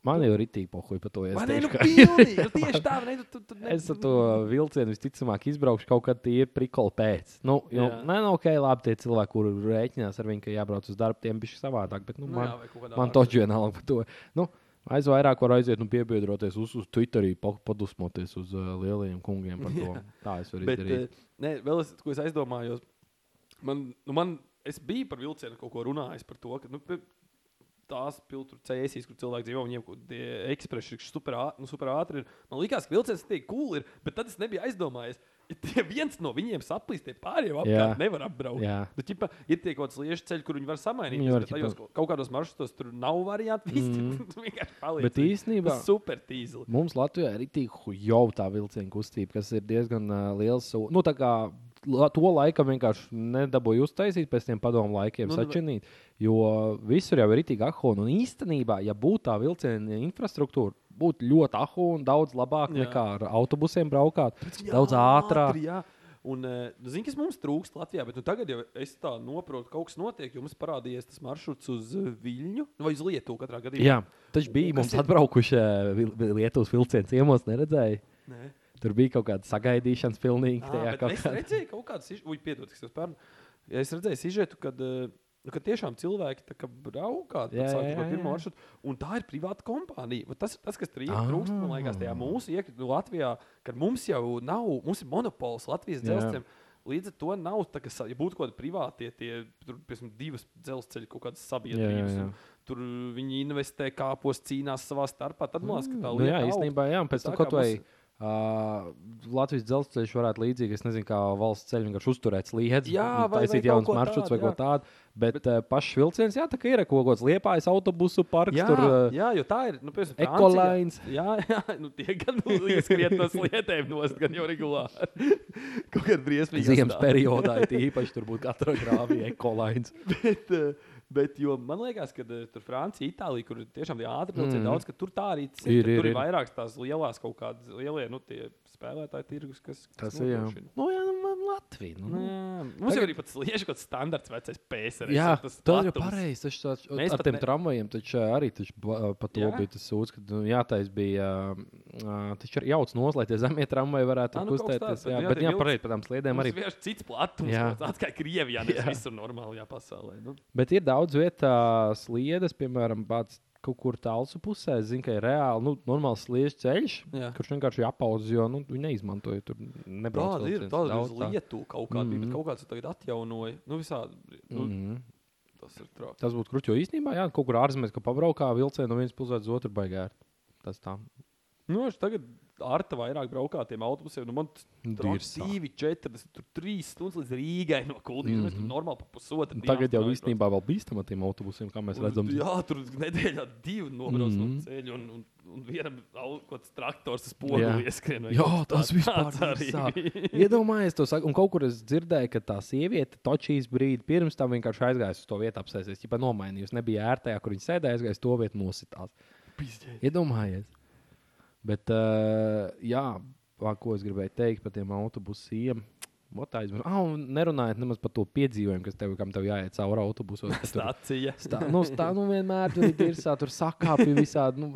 Man jau ir itī pohuļ par to.
man
Es,
ne, nu,
teikšu, ka-
pilnīgi, nu, tieši tā, ne, tu, tu, tu, ne, nu,
es ar to vilcienu visticamāk izbraukšu kaut kad tie prikoli pēc. Nu, jo,
Jā.
nē, nu, ok, labi, tie cilvēki, kur rēķinās ar viņu, ka jābrauc uz darbu, tiem bija savādāk. Bet, nu,
Nu, jā,
man,
vai kaut kādā
man
ārzemē.
toķi vienalga par to. Nu, aiz vairāk var aiziet un piebiedroties uz, uz Twitterī, pa- padusmoties uz uh, lielajiem kungiem par to. Tā es varu
Bet,
izdarīt.
eh, nē, vēl es, ko es aizdomājos, man, nu, man, es biju par vilcienu kaut ko runājis par to, ka nu, pie- tās pilsētas, kur cēsīs, kur cilvēki dzīvo, viņiem kaut kādi ekspresi ir super, ā- nu, super ātri. ir. Man liekas, ka vilciens tiek cool, ir, bet tad es nebiju aizdomājies. Ja tie viens no viņiem saplīst, tie pārējie
Jā.
apkārt nevar apbraukt.
Jā.
Nu, ķipa, ir tie kaut kādi lieši ceļi, kur viņi var samainīt.
Viņi var, Mhm.
bet tajos kaut- kaut kādos maršrutos tur nav variantu. Mm. Tur vienkārši paliek.
Bet īstenībā-
super tīzli.
Mums Latvijā ir itī jau tā vilcienu kustība, kas ir diezgan uh, liels. sū- Nu, tā kā la- to laikam vienkārši nedabūju uztaisīt pēc tiem padomu laikiem, nu,
Nu, nu,
sačinīt. Jo visur jau ir itī ahona. Un īstenībā, ja būtu tā vilciena infrastruktūra, būtu ļoti ahona, daudz labāk jā.
Jā.
nekā ar autobusiem braukāt, daudz ātrāk.
ātri, Jā. Un, eh, nu, zini, kas mums trūkst Latvijā, bet nu, tagad jau es tā noprotu, ka kaut kas notiek. Jums parādījies tas maršruts uz eh, Viļņu nu, vai uz Lietuvu katrā gadījumā.
Jā, taču bija
Un
mums
kas ir-
atbraukuši eh, vil- vil- Lietuvas vilciens ciemos, neredzēja.
Nē.
Tur bija kaut kāda sagaidīšanas pilnīgi.
Ā,
tajā
bet
kaut
Es
kādā-
redzēju, kaut kādas izžu- Ui, piedod, kas tas pērn. Ja Es redzēju, izžētu, kad, eh, nu, kad tiešām cilvēki tā kā braukā
Jā, jā,
ar pirmo
jā.
maršrutu, un tā ir privāta kompānija. Un Tas ir tas, kas trī-
Ah.
trūkst man liekas, tajā mūsu iekļūt nu, Latvijā, kad mums jau nav, mums ir monopols Latvijas
Jā.
dzelzceļiem. Līdz ar to nav tā, ka, sa- ja būtu kaut kādi privātie, tie tur, piemēram, divas dzelzceļa kaut kādas
Jā, jā,
sabiedrības,
jā.
un tur viņi investē kāpos, cīnās savā starpā, tad man liekas, ka tā
Nu, jā,
lieta aug.
īstenībā, jā, un pēc
Tā
tam
kā
kaut vai
mums-
uh, Latvijas dzelzceļš varētu līdzīgi, es nezinu, kā valsts ceļš vienkārši uzturēt sliedas,
Jā,
un
vai- vai
taisīt
kaut
jaunas
ko
maršruts vai
tādu,
ko
jā.
tādu. Bet, bet uh, pašs vilciens, jā, tā kā ir kaut kāds liepājas autobusu parks.
Jā,
tur, uh,
jā, jo tā ir. Nu, piemēram, Francijā-
Ekolains.
Jā, jā nu, tie gan skriet no sliedēm, nost, gan jau regulāri. Kaut kādā briesmīgā
Ziemas
stāvā.
periodā ir īpaši tur būtu katra grāvī ekolains.
Bet, eh, bet jo, man liekas, ka eh, tur Francija, Itālija, kur ir tiešām tie ātri vilcieni mm. daudz, ka tur tā arī tas
Ir,
ka
ir,
tur
ir.
ir vairākas tās lielās kaut kādas lielie nu, tie spēlētāji tirgus, kas, kas
Tas ir jā.
nodrošina.
Nu, jā, nu, man Latvija. Nu.
Nu, jā. Mums jau ir pat sliežu kaut kāds standarts vecais PSR.
Jā, tas
tas
ir
platums.
pareizi. taču tāds-
Mēs
Ar
pat
tiem
ne-
tramvajiem taču ā, arī taču, ba- par to
Jā.
bija tas sūds, ka nu, jātais bija ā, taču ir jauts noslēgt, ja zemie tramvaji varētu tur
Ā, nu, kaut kas
kustēties.
tāds, bet
Jā,
jā,
bet
tie
jā,
vilci-
pareizi par tām sliedēm
Mums
arī.
vienkārši cits platums,
Jā.
jā. tāds kā Krievijā, nevis
Jā.
visur normālajā pasaulē. Nu.
Bet ir daudz vietā sliedes, piemēram, bāc, kaut kur tālu pusē, es zinu, ka ir reāli nu, normāls sliežu ceļš, jā.
Jā.
kurš vienkārši jāpaudz, jo nu, viņi neizmantoja tur nebrauc
Tāda ir
vilciens.
tāda
Daudz
uz Lietuvu kaut kāda bija,
Mm.
bet kaut kāds to tagad atjaunoja. Nu, visādi, nu,
Mhm.
Tas ir traki.
Tas būtu krūti, jo īstenībā, jā, kaut kur ārzemēs, ka pabraukā vilcienu no vienas puses uz otru baigā. ir. Tas tā.
Nu, es tagad ar te vairāk braucu ar tiem autobusiem. Nu, man tas
Nu,
traks
dirsā.
divi, četri, tas tur trīs stundas līdz Rīgai no Kuldīnas. Mm -hmm. Tur normāli pa pusotru. dienu
Mm-hmm. Tagad jau
jābrauc.
īstenībā vēl bīstam ar tiem autobusiem, kā mēs
Un,
redzam.
Jā, tur nedēļā divi nobrauc mm -hmm.
Mhm.
no ceļa, un, un, un vienam au- kaut kāds traktors uz
Jā.
pogu ieskrien. vai
Jā,
kaut
tas
tāds-
vispār
tāds arī bija.
bija. Iedomājieties, to sakot. Un kaut kur es dzirdēju, ka tā sieviete točīs brīdi pirms tam vienkārši aizgāja uz to vietu, apsēsties. Viņa nomainījusi, nebija ērtā, kur viņa sēdēja, aizgāja uz to vietu, nositās.
Pizdēļ.
Iedomājieties. Bet, uh, jā, vā, ko es gribēju teikt par tiem autobusiem. Vot tā aizmirsu. Ah, un nerunājiet nemaz par to piedzīvojumu, kas tev, kam tev jāiet cauri autobusos. ka tur-
Stācija.
Tā, nu, tā nu vienmēr tur ir īrsā, tur sakāpja visādi nu,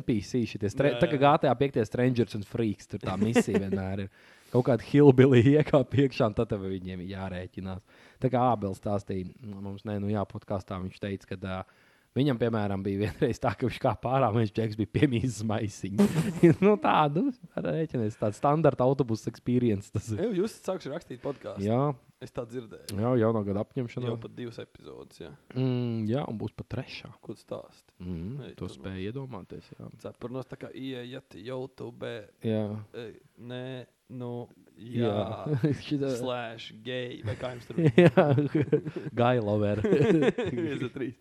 NPC. šitie stre-
Nē.
Tā kā GTA 5 Strangers un Freaks tur tā misija vienmēr ir. Kaut kāda hilbilī iekāpa iekšā, un tad tev ar viņiem ir jārēķinās. Tā kā Ābels stāstīja, nu, mums nē, nu jāpodkāstā, viņš teica, ka. ā, Viņam, piemēram, bija vienreiz tā, ka viņš kā pārām viņš čeks bija piemīzis maisiņu. nu, tāda, nu, rēķinies, tāda standarta autobusa experience tas ir.
Ej, Jūs esat sākuši rakstīt podkāstu.
Jā,
Es tā dzirdēju.
jau jaunā gada
Jau
apņemšanā.
pat divas epizodes. Jā.
Mm, jā, un būs pat trešā.
Ko tu stāst?
Mm,
Ei,
to
tu nu.
spēja iedomāties. Jā.
Cepurnos tā kā ieiet YouTube,
Jā,
e, nē, nu, jā,
jā.
jā.
Šitā-
slash, gay, vai kā jums tur bija?
jā. Gailover.
Viens, trīs.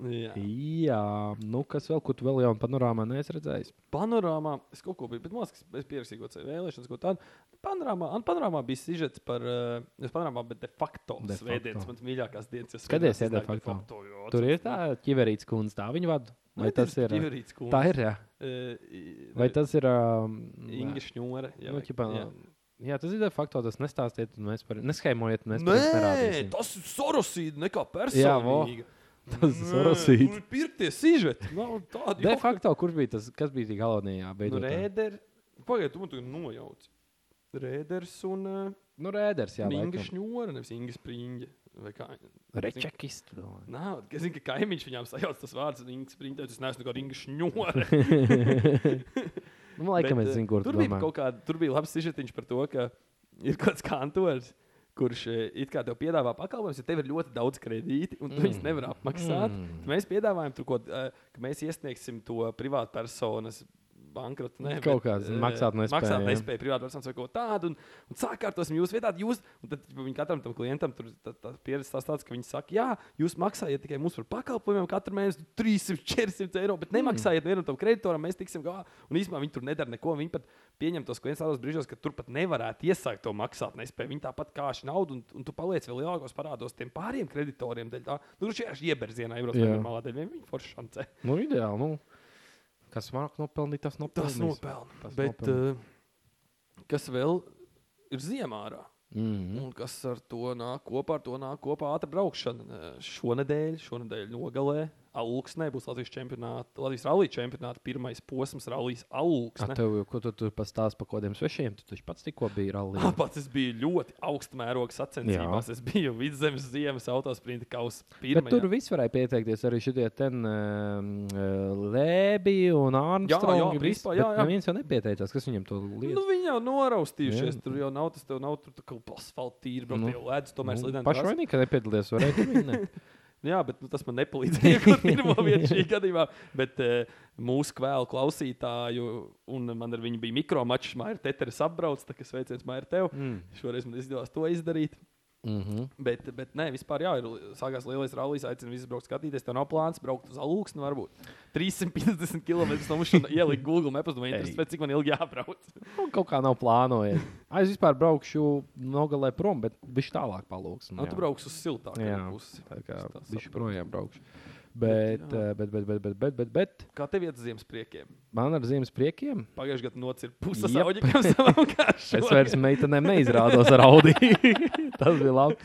Jā.
jā, nu kas vēl, ko tu vēl jau panorāmā neesi redzējis?
Panorāmā, es kaut ko biju, bet man liekas, ka es pierakstīju kaut kādu vēlēšanu, ko tādu. Panorāmā, un panorāmā bija sižets par, uh, nevis panorāmā, bet de facto.
De facto.
Svētdienas, mans mīļākās dienas. jo
Skaties,
svētdienas
ja de
iznāk
facto.
jo,
Tur
atceros, nu,
ir tā ķiverīts kundze, tā viņa vada. Vai tas ir? ā,
Ķiverīts kundze.
Tā ir, jā.
E,
Vai tas ir? Um,
Inga Šņore. jā,
Nu,
vai-
ķipā, jā.
jā.
jā, tas ir de facto. Tas nestāstiet, un mēs par neskaimojiet, un mēs par
Nē,
nerādīsim.
tas ir sorosīdi, nekā
Jā, vo.
personīgi.
Tas ir Rosīt.
Pirkties Nu, sižeti. Nav tādu
De facto, kurš bija tas, kas bija tie galvenajā
Nu,
beigās?
Rēders. Pagaidiet, tu man tagad nojauc. Rēders un uh,
Nu, rēders, jā.
Inga
laikam.
Šņore, nevis Inga Springa. Vai kā?
Rečekis. tu domā.
Nā, es zinu, ka kaimiņš viņām sajauc tas vārds, un Inga Springa teica, es neesmu nekāda Inga Šņore.
Nu, laikam
Bet,
es
eh,
zinu, kur tu
tur bija.
domā.
Kaut kāda, tur bija labs sižetiņš par to, ka ir kāds kantors, kurš eh, it kā tev piedāvā pakalpojumus, ja tev ir ļoti daudz kredīti un tu mm. viņus nevar apmaksāt. Mm. Mēs piedāvājam, tur, ko, eh, ka mēs iesniegsim to privātpersonas bankrota. Nē,
Kaut kāds
eh,
maksātnespēja,
Maksāt
jā.
nespēja privāti personas vai ko tādu. Un, un sākārtosim jūsu vietā. Jūs, un tad viņi katram tam klientam tur tā, tā pieredze tās tāds, ka viņi saka, jā, jūs maksājiet tikai mums par pakalpojumiem katru mēnesi 300, 400 eiro, bet nemaksājiet vienam tam kreditoram, mēs tiksim galā. Un īstenībā viņi tur nedara neko. Viņi pat pieņem tos klientus tādos brīžos, ka tur pat nevarētu iesākt to maksāt nespēju. Viņi tāpat kāši naudu, un, un tu paliec vēl lielākos parādos tiem pāriem kreditoriem. Dēļ, tā, nu, tur šī ieberzienā Eiropas
Jā.
normālā dēļ viņiem forši šancē.
Nu, ideāli. Nu. Kas vairāk nopelnīja, tas nopelnīja.
Tas nopelna.
Tas
Bet
nopelna.
uh, kas vēl ir ziemā?
Mm -hmm.
Un kas ar to nāk kopā? Ar to nāk kopā ātrā braukšana. Eh, Šonadēļ, šonadēļ nogalē Aluksnē būs Latvijas čempionāta, Latvijas rallija čempionāta pirmais posms, rallijas
A,
Aluksnē.
tev, jau- ko tu tur pastāstīji par kaut kādiem svešiem? Tu taču pats tikko biji rallija.
Tāpēc Ah, es biju ļoti augsta mēroga sacensībās. Jā. Es biju vidzemes ziemas autosprinta kausa
Bet
pirmā.
tur viss varēja pieteikties arī šitie ten um, lēbi un ārstrādi.
jā, principā, jā, jā.
Neviens jau nepieteicās, kas viņam to
Nu,
lietu.
viņi jau noraustījušies.
Jā.
Tur jau nav tas, tev nav tur tā kā asfalta tīra,
Nu.
bet jau ledus tomēr slidām.
Pašvainīgi, ka nepiedalījās. varēja domāt,
Jā, bet nu, tas man nepalīdzēja iegūt pirmo vietu šī gadījumā. Bet uh, mūsu kvēlu klausītāju, un man ar viņu bija mikromačs, Maija Teteris apbrauc, tā kā sveiciens Maija tev. Mm. Šoreiz man izdevās to izdarīt.
Mm -hmm.
Bet, bet nē, vispār jā, ir li- sākās lielais rallies. Aicinu visus braukt skatīties. Tev nav plāns braukt uz augstu, varbūt 350 km no mums un ielikt Google mapus. Man
Ei.
interesē, cik man ilgi jābrauc.
Nu, kaut kā nav plānojies. Ai, Es vispār braukšu nogalē prom, bet viņš tālāk palūks.
Nu, tu brauks uz siltāku
Jā.
pusi.
Tā kā
Es tā
viņš
saprotu.
projām braukšu. Bet,
Bet, jā.
eh, bet, bet, bet, bet, bet, bet, bet
Kā tev iet uz ziemas priekiem?
man ar ziemas priekiem.
Pagājušajā gadā nocirta pusi
Jep.
auga, kā savam kāršu.
Es vairs meitenēm neizrādos ar Audi. Tas bija labi.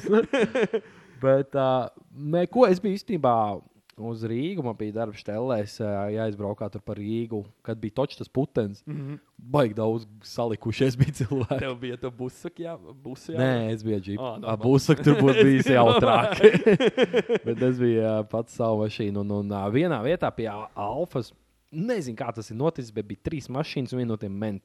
Bet, uh, nē, ko es biju īstenībā uz Rīgas. Man bija darbs telēs, uh, jāizbraukā tur par Rīgu, kad bija točs tas putens. Mm -hmm. Baigi daudz salikušies bija cilvēki.
Mhm. Tev bija tā busakā, busakā.
Nē, es biju ģipā.
Ā,
Oh,
normāli.
Abūs saka, tur būtu bijis jautrāk. Bet es biju ā, pats savu mašīnu. Un, un ā, vienā vietā pie ā, Alfas, nezinu, kā tas ir noticis, bet bija trīs mašīnas un viena no tiem ment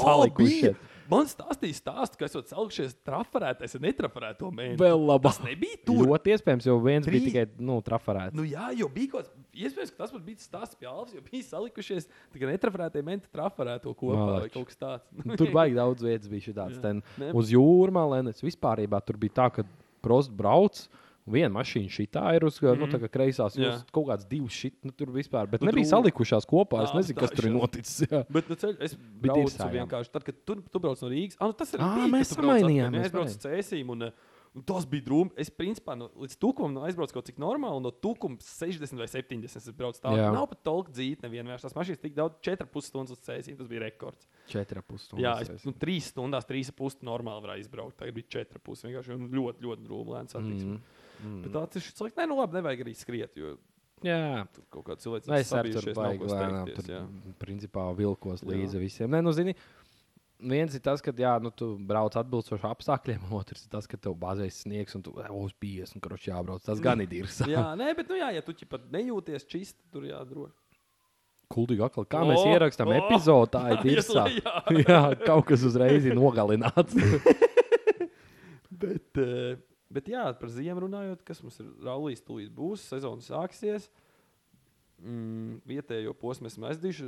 salikušies.
Man stāstīja, stāstu, ka esat salikušies trafarētais un netrafarēto mēnesi.
Vēl labāk.
Tas nebija tur.
Ļoti iespējams, jo viens Trīs.
Trīs.
bija tikai nu, trafarēts.
Nu, jā, jau bija kaut kas. Iespējams, ka tas pat bija tas stāsts pie Alfas, jo bija salikušies tikai netrafarētie menti, trafarēto kopā vai
Malači.
kaut kas tāds.
Nu, Tur baigi daudz vietas bija šādas.
Ne.
Uz jūrmālēnes vispār tur bija tā, ka prosti brauc. Viena mašīna šitā ir uz mm -hmm. nu, tā kā kreisās,
Mhm. Jā.
jau kaut kādas divas šitas, nu, tur vispār. Bet
Nu,
nu, nebija
drū-
salikušās kopā. Es
Ā,
nezinu, kas tur ir
apstājušās.
noticis. Jā.
Bet nu, ceļ, es
Bija
braucu
tirsā, jā.
vienkārši. Tad, kad tu, tu brauc no Rīgas, ah, nu, tas ir
Ā,
bijis,
mēs
kad tu brauc
samainījām,
atpakaļ. Jā,
mēs
Es braucu uz cēsīm. Un, eh, un Tas bija drūmi. Es principā no, līdz tukumam nu, aizbraucu kaut cik normāli. un No tukuma 60 vai 70 es braucu tālu.
Jā.
Nav pat tolka dzīve nevienmēr. Tās mašīnas tik daudz, 4,5 stundas uz cēsīm. Tas bija rekords.
Četri pusstūri.
Jā, es nu, 3 stundās, 3,5 normāli varēju izbraukt. Tagad bija 4,5 vienkārši un ļoti, ļoti drūmi lēns attīstības.
Mm-hmm.
Mm. Bet tāds ir šis laiks, nē, nu labi, nevajag arī skriet, jo
jā.
tur kaut kāds cilvēks
Nu, es arī tur
sabijušies, nav
baigi
ko
lēnām.
steigties,
Tur,
jā.
principā, vilkos
Jā.
līdzi visiem. Nē, nu, zini, viens ir tas, ka jā, nu, tu brauc atbilstoši apstākļiem, un otrs ir tas, ka tev bāzēs sniegs un tu "Ē, uz 50 kroču jābrauc. Tas gan ir dirs.
Mm. Jā, nē, bet, nu, jā, ja tu pat nejūties čisti, tur jādroši.
Kultīgi, atkal, kā
O,
o, mēs ierakstām
o,
epizodi, tā ir
ies
dirsā.
lejā.
jā, kaut kas uzreiz ir nogalināts.
Bet, eh, bet jā, par ziemu runājot, kas mums ir rallijas tūlīt būs, sezona sāksies. Mm, vietējo posmu esmu aizdījuši.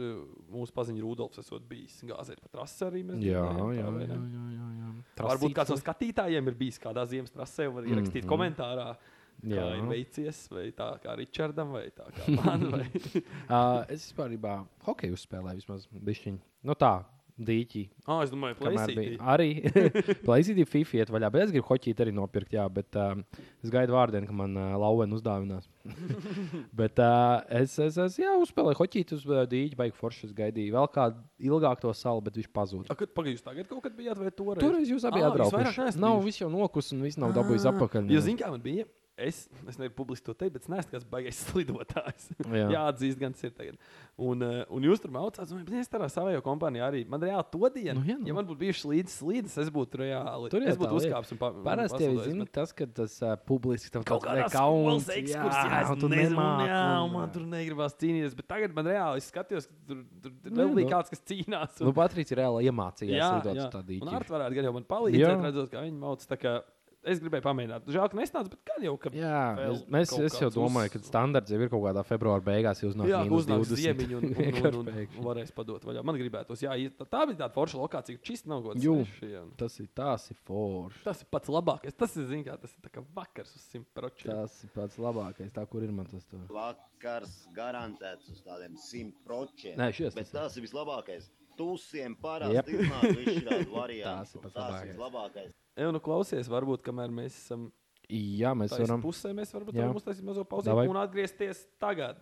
Mūsu paziņa Rudolfs esot bijis gāzēt pa trasi arī. Mēs
jā,
runājām,
jā,
tā vai
jā,
ne?
jā, jā, jā.
Varbūt kāds no skatītājiem ir bijis kādā ziemas trasē un var ierakstīt mm -hmm. komentārā. Jā,
Mhm. Jā.
ir veicies, vai tā kā Richardam, vai tā kā man. Vai...
Uh, es vispār īstenībā hokeju spēlēju vismaz bišķiņu. Nu tā, dīķi.
ah, es domāju,
Kamēr
plēsīt.
bija arī plakāta, FIFA iet vaļā. Bet es gribu hoķīt arī nopirkt, jā, bet um, es gaidu vārdienu, ka man uh, lauvena uzdāvinās. bet uh, es, es, es jā, uzspēlēju hoķīt uz uh, dīķa, baigu foršu. Es gaidīju vēl kādu ilgāku to salu, bet viņš pazuda.
Pagaidiet, jūs tagad kaut kad bijāt vai toreiz?
Toreiz jūs abi
Ā, Ah, vairāk
atbraucat.
neesat
Nav
bijuši.
viss jau nokus, un viss nav dabūjis atpakaļ.
Jo, zin, kā man bija, es, es nevaru publiski to teikt, bet es neesmu kāds baigais slidotājs. Jā,
Jā.
atzīst, gan tas ir tagad. Un, eh, un jūs tur mācāties, un es tādā savā kompānijā arī. Man reāli to dienu,
Nu,
nu,
jā,
jā,
nu.
ja man būtu bijušas līdzi slīdes, es būtu reāli.
Tur
Tur
jau
es būtu
tā lieta.
uzkāpis un pāri.
Parasti jau zina, tas, ka tas uh, publiski tam
Kaut kādā
kauns,
skolas ekskursijā
un
es
tu
nezinu,
nemāki,
jā,
un,
man tur negribās cīnīties. Bet tagad man reāli es skatījos, ka tur, tur, tur
Nu,
vēl bija
nu.
kāds, kas cīnās.
Nu, Patrīcija reāli iemācījās
jā,
lidot
jā.
uz tādu
Un
dīķi.
Artur varētu gan jau man palīdzēt,
Jā.
redzot, kā viņi mācās. Es gribēju pamēģināt. Žēl, ka nesnāca, bet gan jau, ka.
Jā,
vēl
mēs, mēs,
kaut
es jau
kāds
domāju,
uz-
ka standarts jau ir kaut kādā februāra beigās. Jūs
Jā,
nonākat
uznāks
līdz 20.
ziemiņu un, un, un, un,
Vienkārši
un varēs padot vaļā. Man gribētos, jā, i- tā, tā bija tāda forša lokācija, ka čist nav gods.
Jū.
sveši, jā.
Tas ir tās ir forši.
Tas ir pats labākais. Tas ir, zin, kā, tas ir tā kā vakars uz simt procentu.
Tas ir pats labākais, tā kur ir man tas tur.
Vakars garantēts uz tādiem simt procentu.
Nē, šies
Bet
tas ir.
tas ir vislabākais. Tūsiem
Jep.
parasti yep. iznāk visi šādi varianti.
Tas ir pats
un tas
labākais.
ir vislabākais.
Jā, nu klausies, varbūt kamēr mēs esam
Jā, mēs
tādā
varam.
pusē, mēs varam
Jā.
uztaisīt mazo pauzi
Davai.
un atgriezties tagad.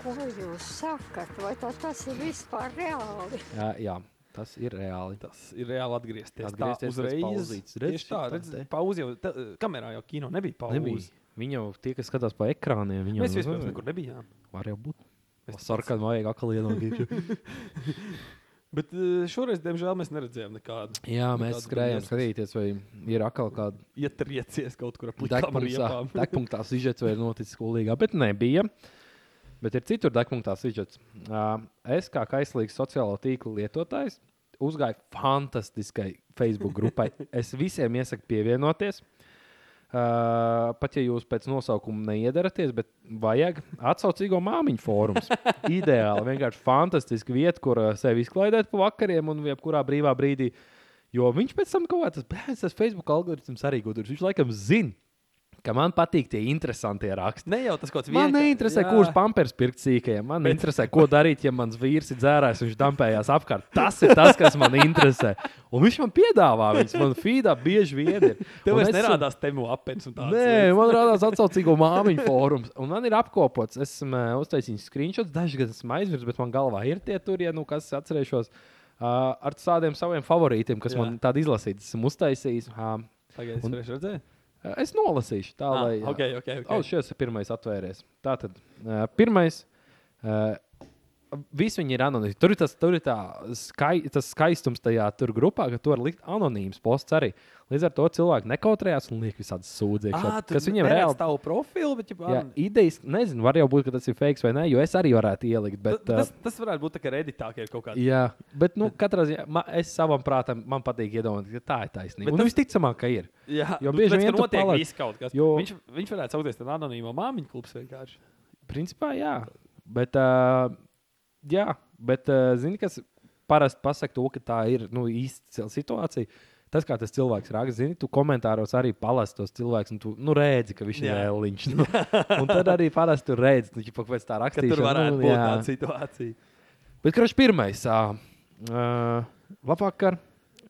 Ko jūs sakat? Vai tas, tas ir vispār reāli?
Jā, jā, tas ir reāli.
Tas ir reāli atgriezties.
Atgriezties pēc
tā uzreiz.
pauzītes. Redz,
Tieši tā,
šitā
redz,
te.
pauze jau tā, kamerā jau kino nebija pauze.
Nebija. Viņi jau tie, kas skatās pa ekrāniem, viņi
Mēs
jau
vispār nekur nebijām.
Var jau būt.
Mēs
Sarkanā vajag akli ienākt.
Bet eh, šoreiz, diemžēl, mēs neredzējām nekādu.
Jā,
Tāda
mēs skrējām
briesmas.
skatīties, vai ir akli kāda
Ietriecies kaut kur aplikāpā.
Degpunktā sižets vai ir noticis skolīgā, bet nebija. Bet ir citur degpunktā sižets. Uh, es kā kaislīgs sociālo tīklu lietotājs uzgāju fantastiskai Facebook grupai. Es visiem iesaku pievienoties. Uh, pat ja jūs pēc nosaukuma neiedaraties, bet vajag atsaucīgo māmiņu fórums. Ideāli, vienkārši fantastiski vieta, kur uh, sevi izklaidēt pa vakariem un jebkurā brīvā brīdī. Jo viņš pēc tam kaut kāds bērns, tas Facebook algoritms arī gudrs. Viņš laikam zina, ka man patīk tie interesantie raksti.
Ne jau tas kaut kāds
Man
vienkār-
neinteresē,
Jā.
kurš pampers pirkt sīkajiem. Man Bet... interesē, ko darīt, ja mans vīrs ir dzērājis, viņš dampējās apkārt. Tas ir tas, kas man interesē. Un viņš man piedāvā, viņš man feedā bieži vien ir.
Tev
Un
vairs
es-
nerādās temu apelsīns un tāds.
Nē, man rādās atsaucīgo māmiņu fórums. Un man ir apkopots, esmu eh, uztaisījis screenshots, dažas gadus esmu aizmirsis, bet man galvā ir tie tur, ja nu kas atcerēšos. Uh, ar tādiem saviem favorītiem, kas
Jā.
Jā. man tādu izlasītas, esmu uztaisījis. Uh,
Tagad es
Un-
vienkārši redzēju.
es nolasīšu, tā
Ah,
lai.
ok, ok, ok.
Oh, šis ir pirmais atvērties. Tā tad uh, pirmais. Uh, Visi viņi ir anonīmi. Tur ir tas, tur ir tā skai, tas skaistums tajā tur grupā, ka tur var likt anonīms posts arī. Līdz ar to cilvēki nekautrējās un liek visādas sūdzības. Kas viņiem reāli
tavu profilu, bet jau
Jā, idejas, nezinu, var jau būt, ka tas ir fake vai nē, jo es arī varētu ielikt. Bet,
Nu, tas,
tas,
tas varētu būt tā, ka redītāk ir kaut
uh,
kāda.
jā, bet nu, katrā ziņā ma, es savam prātam man patīk iedomāties, ka tā ir
Bet
taisnība. Un
tas-
visticamāk, ka ir.
Jā,
Jo
nu,
bieži
tāpēc,
vien
ka
tu
notiek
palaid-
viss kaut kas.
Jo-
Viņš, viņš varētu saukties par anonīmo māmiņu klubs vienkārši.
Principā, jā. Bet, uh, jā, bet uh, zini, kas parasti pasaka to, ka tā ir nu, īsta situācija. Tas, kā tas cilvēks raksta, zini, tu komentāros arī palasi tos cilvēkus, un tu nu, redzi, ka viņš ir
Jā.
vēliņš. Nu. Un tad arī parasti tur redzi, nu, ka pēc tā
Ka
rakstīšana.
tur varētu
nu,
būt
jā.
tāda situācija.
Bet kurš pirmais? ā, ā, Labvakar.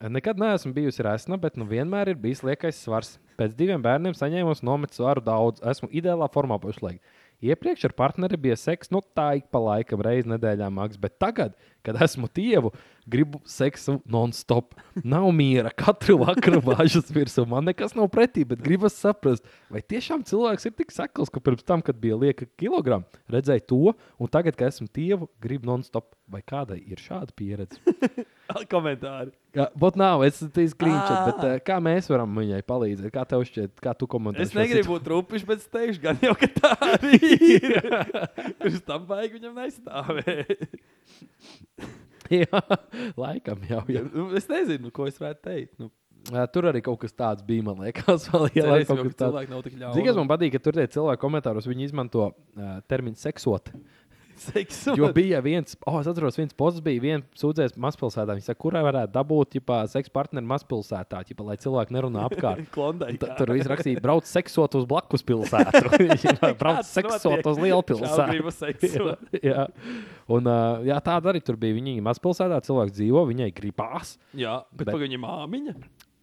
Nekad neesmu bijusi resna, bet nu vienmēr ir bijis liekais svars. Pēc diviem bērniem saņēmu nometu svaru daudz. Esmu ideālā formā pašlaik. Iepriekš ar partneri bija seks, nu tā ik pa laikam, reizes nedēļā maks, bet tagad, kad esmu tievu, gribu seksu non-stop. Nav miera, katru vakaru vāžas virsū. Man nekas nav pretī, bet gribas saprast, vai tiešām cilvēks ir tik sakls, ka pirms tam, kad bija lieka kilograma, redzēja to, un tagad, kad esmu tievu, gribu non-stop. Vai kādai ir šāda pieredze?
Komentāri.
Jā, bet nav, es tikai skriņķoju, bet eh, kā mēs varam viņai palīdzēt? Kā tev šķiet, kā tu komentē?
Es negribu būt rupišs, bet es teikšu, gan jau, ka tā arī ir. Pirms tam vajag viņam nestāvēt.
Jā, laikam jau. Jā.
Nu, es nezinu, ko es varētu teikt. Nu,
Jā, Tur arī kaut kas tāds bija, man liekas, vēl
cerēsim,
ielaikt kaut
ka
kas tāds.
cilvēki nav tik ļauni.
Zini, kas man patīk, ka tur tie cilvēki komentāros viņi izmanto uh, terminu seksot.
Seks.
Jo bija viens, oh, es atceros, viens posms bija, viens sūdzējis mazpilsētā. Viņš saka, kurai varētu dabūt ģipā, seksu partneri mazpilsētā, ģipā, lai cilvēki nerunā apkārt.
Klondai.
Un tad Tur viss rakstīja, brauc seksot uz blakus pilsētu. Ģipā, brauc seksot uz lielu pilsētu.
Gribu seksot.
jā. Un, uh, jā, tāda arī tur bija. Viņa mazpilsētā cilvēks dzīvo, viņai gribās.
Jā, bet,
Bet-
bet. viņa māmiņa.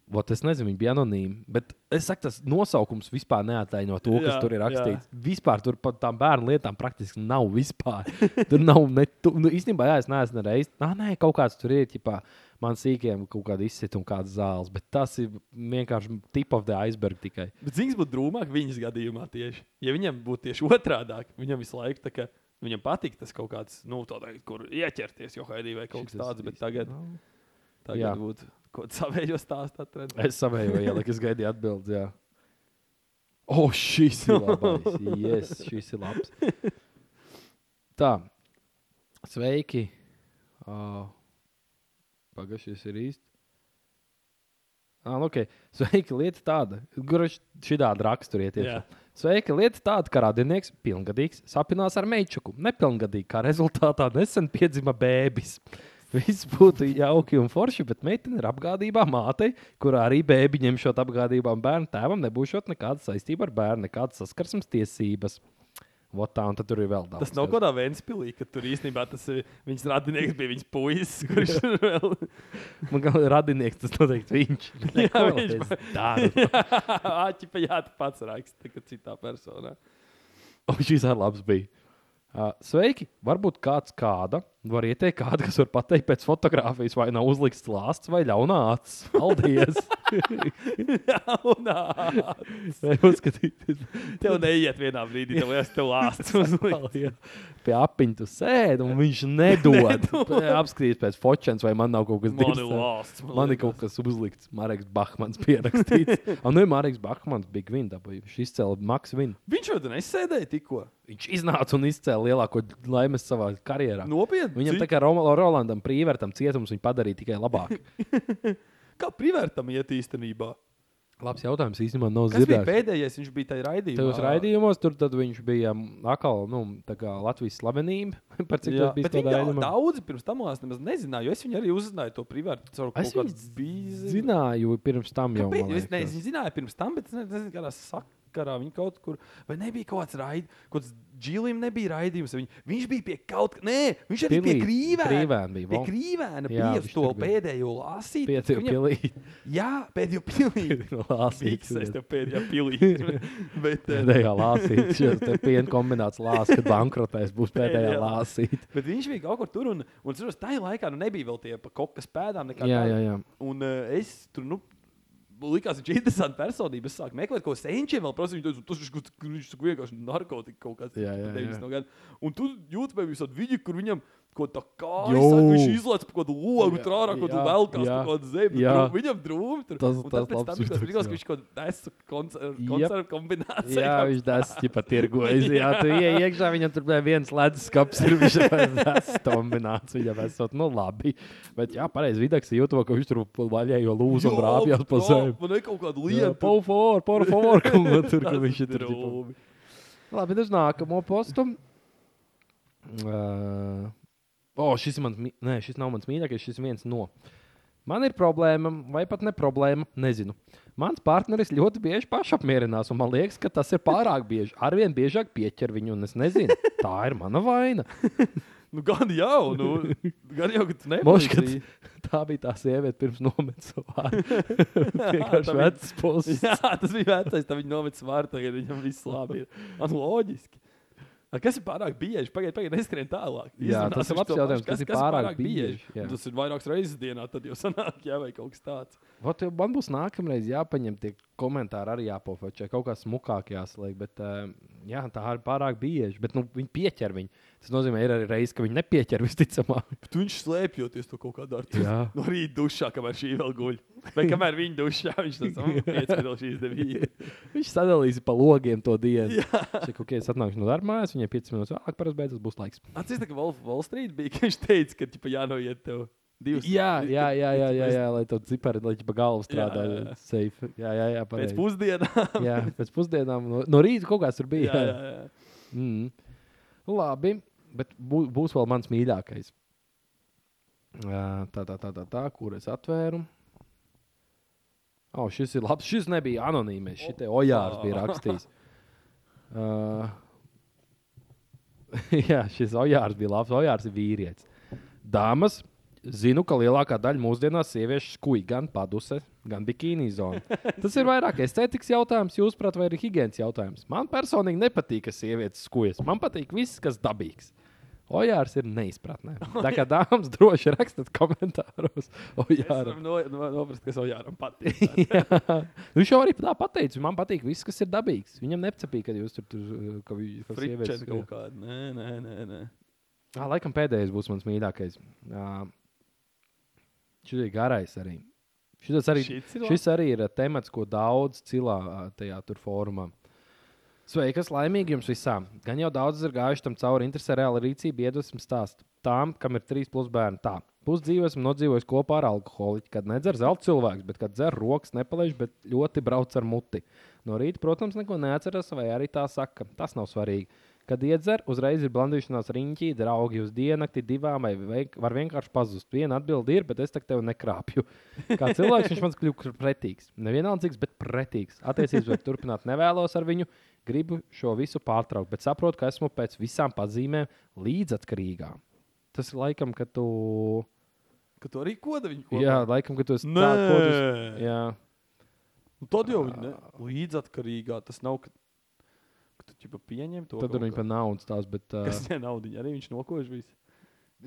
Vot, es nezinu, viņi bija anonīmi. Bet es saku, tas nosaukums vispār neataino to, kas
Jā,
jā, tur ir
jā.
rakstīts. Jā. Vispār tur par tām bērnu lietām praktiski nav vispār. Tur nav ne. Tu, nu, īstenībā, jā, es neesmu reizes. Nā, nē, kaut kāds tur ir. Ķipā, man sīkiem kaut kāda izsituma, kādas zāles. Bet tas ir vienkārši tip of the iceberg tikai.
Bet zings būtu drūmāk viņas gadījumā tieši. Ja viņam būtu tieši otrādi, viņam visu laiku tā kā viņam patīk tas kaut kāds, nu, tādā, kur ieķerties, jo haidī vai kaut kas
Šitas
tāds, bet
īsti
tagad,
nav. nu. Jā.
tagad būtu kaut kāds savējos stāsts atrast.
Es savējo ieliku, es gaidīju atbildi. Jā. O, oh, šis ir labs. Yes, šis ir labs. Tā, sveiki. Uh, Pagaidzi, šis ir īsti. Ah, okay. Sveika lieta tāda, kurš šādi raksturieties.
Jā.
Sveika lieta tāda, ka radinieks, pilngadīgs, sapinās ar meičuku. Nepilngadīgi, kā rezultātā nesen piedzima bēbis. Viss būtu jauki un forši, bet meitene ir apgādībā mātei, kurā arī bēbi ņemšot apgādībā un bērnu tēvam, nebūšot nekāda saistība ar bērnu, nekādas saskarsmes tiesības. Vot tā, un tad tur ir vēl daudz.
Tas nav kaut kādā Vēnspīlī, ka tur īstenībā tas ir viņas radinieks, bija viņas puisis, kurš tur vēl
Man kā radinieks tas noteikti viņš.
Jā,
Neko
viņš-
es daru.
āķipa jā, tu pats raksta, ka citā personā.
O, šis arī labs bija. Uh, sveiki! Varbūt kāds kāda var ieteikt, kādu, kas var pateikt pēc fotografijas, vai nav uzlikts lāsts vai ļaunā acis. Paldies!
Jaunā!
Vai Uzskatīties,
Tev neiet vienā brīdī, tev liekas, tev lāsts uzlikt.
kā pie apiņa tu sēdi un viņš nedod. Apskatīs pēc fotogrāfijas, vai man nav kaut kas
Man ir
dīvains.
lāsts.
Man ir kaut kas uzlikts, Marks Bahmans pierakstīts. nu Un ne Marks Bahmans bija Gvinda, viņš izcēla Maks Vinu.
Viņš jau tur nesēdēja tikko.
Viņš iznāca un izcēla lielāko laimes savā
Nu,
karjerā.
Nopietni.
Viņam tā kā Roma- Rolandam Prīvertam cietums viņa padarīja tikai labāk.
Kā privērtam iet īstenībā?
Labs jautājums īstenībā nav
Kas bija
dzirdēts.
pēdējais? Viņš bija tajā raidījumā.
Tajos raidījumos tur tad viņš bija mm, atkal nu, tā kā Latvijas slavenība. Par cik
Jā,
tas bija
bet viņi
tādā
jau
raidījumā.
daudzi pirms tam lās nemaz nezināja, jo es viņu arī uzzināju to privātu
Es
caur kaut kādu
viņus
bīzi.
Zināju pirms tam jau.
Kāpēc?
man
Es
liekas.
nezinu, zināju pirms tam, bet es ne- nezinu, kādā sakarā viņi kaut kur. Vai nebija kaut kāds raidījums, kaut kāds džilim nebija raidījums. Viņ, viņš bija pie kaut kā, nē, viņš arī
Pilī-
bija krīvēna.
Krīvēna bija,
Pie
val-
krīvēna
Jā,
bija
viņš
uz to
tur bija.
pēdējo lasīt.
Pieci
Viņam-
pilī.
Jā, pēdējo pilī.
Lāsīt.
Fiks, es tev pēdējā pilī. bet, eh,
Pēdējā lāsīt. Šis te piena kombināts lāsīt, kad bankrotēs būs pēdējā
Pēdējā.
lāsīt.
Bet viņš bija kaut kur tur, un, un es saprotu, tajā laikā nu, nebija vēl tie pa kokas pēdām. nekā
Jā,
tāda.
jā, jā.
Un uh, es tur, nu, likās, viņš ir interesants personība. Es sāku meklēt, ko senčiem vēl prasīju. Viņš teica, tas viņš kaut- viņš saka, vienkārši narkotika kaut kāds.
Jā, jā,
90
jā.
no gada. Un tu jūti, vai visādi viņi, kur viņam kaut tā kā
Jū.
saka, viņš izlaiž pa kādu logu,
Jā,
tur ārā kaut
jā,
kādu velkās,
jā,
kaut kādu zemi.
jā.
drū- Viņam drūmi tur.
Tas-
un tad
tas
pēc tam
labs
likās,
vidūks,
likās, ka
jā.
viņš kaut kādu nesu koncer-
Jep.
koncertu kombināciju.
Jā,
kaut
viņš tas tipa tirgojas. Jā, tu ieej iekšā, viņam tur bija viens ledus skats, ir viņš tas kombināts. Viņam esot, nu labi. Bet jā, pareizi vidaks jūtu, ka viņš tur vaļējo lūzu un rāpjas pa
jā,
zemi.
Man ir kaut kāda
Jā,
lieta.
por favor, por favor, kaut ko tur, ka viņš ir tur. tipa.
drūmi.
Labi, tad uz nākamo postu. Uh, o, šis, ir mans, mī- nē, šis nav mans mīļākais, šis ir viens no. Man ir problēma, vai pat ne problēma, nezinu. Mans partneris ļoti bieži pašapmierinās, un man liekas, ka tas ir pārāk bieži. Arvien biežāk pieķer viņu, un es nezinu, tā ir mana vaina.
Nu, gan jau, nu, gan jau, ka tu
Moškats,
nemanīji.
tā bija tā sieviete, pirms nometnes savā. Vienkārši
tā bija-
vecs posms.
Jā, tas bija vecais, tad viņi noveda svārtu, tagad viņam viss labi ir. Man loģiski. A, Kas ir pārāk bieži? Pagaidiet, pagaid, neskrien tālāk.
Jā,
Izrunāsim
tas ir
šo
labs
pašu.
jautājums, kas ir pārāk bieži, jā.
Un Tas ir vairākas reizes dienā, tad jau sanāk, jā, vai kaut kas tāds.
Vat, jau man būs nākamreiz jāpaņem tie komentāri, arī jāpofečē. Kaut kā smukāk jāsliek, bet eh, jā, tā ir pārāk bieži. Bet nu, viņi pieķer viņu. Tas nozīmē, ir arī reizes, ka viņi nepieķer visticamāk.
Bet viņš slēpjoties to kaut kādā
Jā.
ar no rīta dušā, kamēr šī vēl guļ. Vai kamēr viņa dušā, viņš tas piecēlīja šīs devītas.
Viņš sadalīs pa logiem to dienu. Viņš kaut kādā atnākšu no darba mājās, viņai 5 minūtes vēlāk, parasti beidzas būs laiks.
Atcīm tā, ka Wall, Wall Street bija, ka viņš teica, ka ķipa, jānoiet tev divas.
Jā, jā, jā, jā, jā, jā lai to cipari, lai pa galvu strādā. Jā, jā, jā. jā, jā, jā
Pēc
pareizi.
pusdienām.
Jā, pēc pusdienām no, no rīta kaut kāds tur bija.
jā, jā, jā.
Mm. Labi, bet bū, būs vēl mans mīļākais. Ā, Tā, tā, tā, tā, tā kur es atvēru. O, šis ir labs. Šis nebija anonīms. Šī te ojārs bija rakstījis. Uh, jā, šis ojārs bija labs. Ojārs ir vīrietis. Dāmas, zinu, ka lielākā daļa mūsdienās sieviešu skūj gan paduse, gan bikīni zonu. Tas ir vairāk estētikas jautājums, jūsuprāt, vai arī higiēnas jautājums. Man personīgi nepatīk, ka sievietes skūjas. Man patīk viss, kas dabīgs. Ojārs ir neizpratnē. Tā kā dāmas droši rakstat komentāros.
Es
Ojāra.
varu no, no, noprast, kas Ojāram patīk.
Jā. Viņš jau arī tā pateica, man patīk viss, kas ir dabīgs. Viņam nepatīk, ka jūs tur tur
Fričs kaut
kaut kā.
kāda. Nē, nē, nē. nē.
Jā, Ah, laikam pēdējais būs mans mīļākais. Uh, šis ir garais arī. Šis arī,
Šis ir
šis arī ir ā, temats, ko daudz cilā ā, tajā tur fórumā. Sveikas, laimīgi jums visām. Gan jau daudz ir gājuši tam cauri, interesē reāla rīcība, iedvesmas stāst. Tām, kam ir trīs plus bērni, tā. pusdzīvi esmu nodzīvojis kopā ar alkoholiķu. Kad nedzer zelta cilvēks, bet kad dzer rokas nepalaiž, bet ļoti brauc ar muti. No rīta, protams, neko neatceras, vai arī tā saka. Tas nav svarīgi. Kad iedzer, uzreiz ir blandīšanās riņķī, draugi uz diennakti, divām vai veik- var vienkārši pazust. Viena atbilde ir, bet es tak tevi nekrāpju. Kā cilvēks viņš man kļūst pretīgs. Nevienaldzīgs, bet pretīgs. Attiecības var turpināt nevēlos ar viņu. Gribu šo visu pārtraukt, bet saprotu, ka esmu pēc visām pazīmēm līdzatkarīgā. Tas ir laikam, ka tu.
Ka tu arī koda viņu kopā.
Jā, laikam, ka tu esi
Nē.
tāds kodus. Jā,
Nu, tad jau viņa līdzatkarīgā tas nav. Ka, ka tu jau pieņem to.
tad tur viņa par naudu stāsta. Bet uh,
Kas ne naudu, arī viņš nokož visu.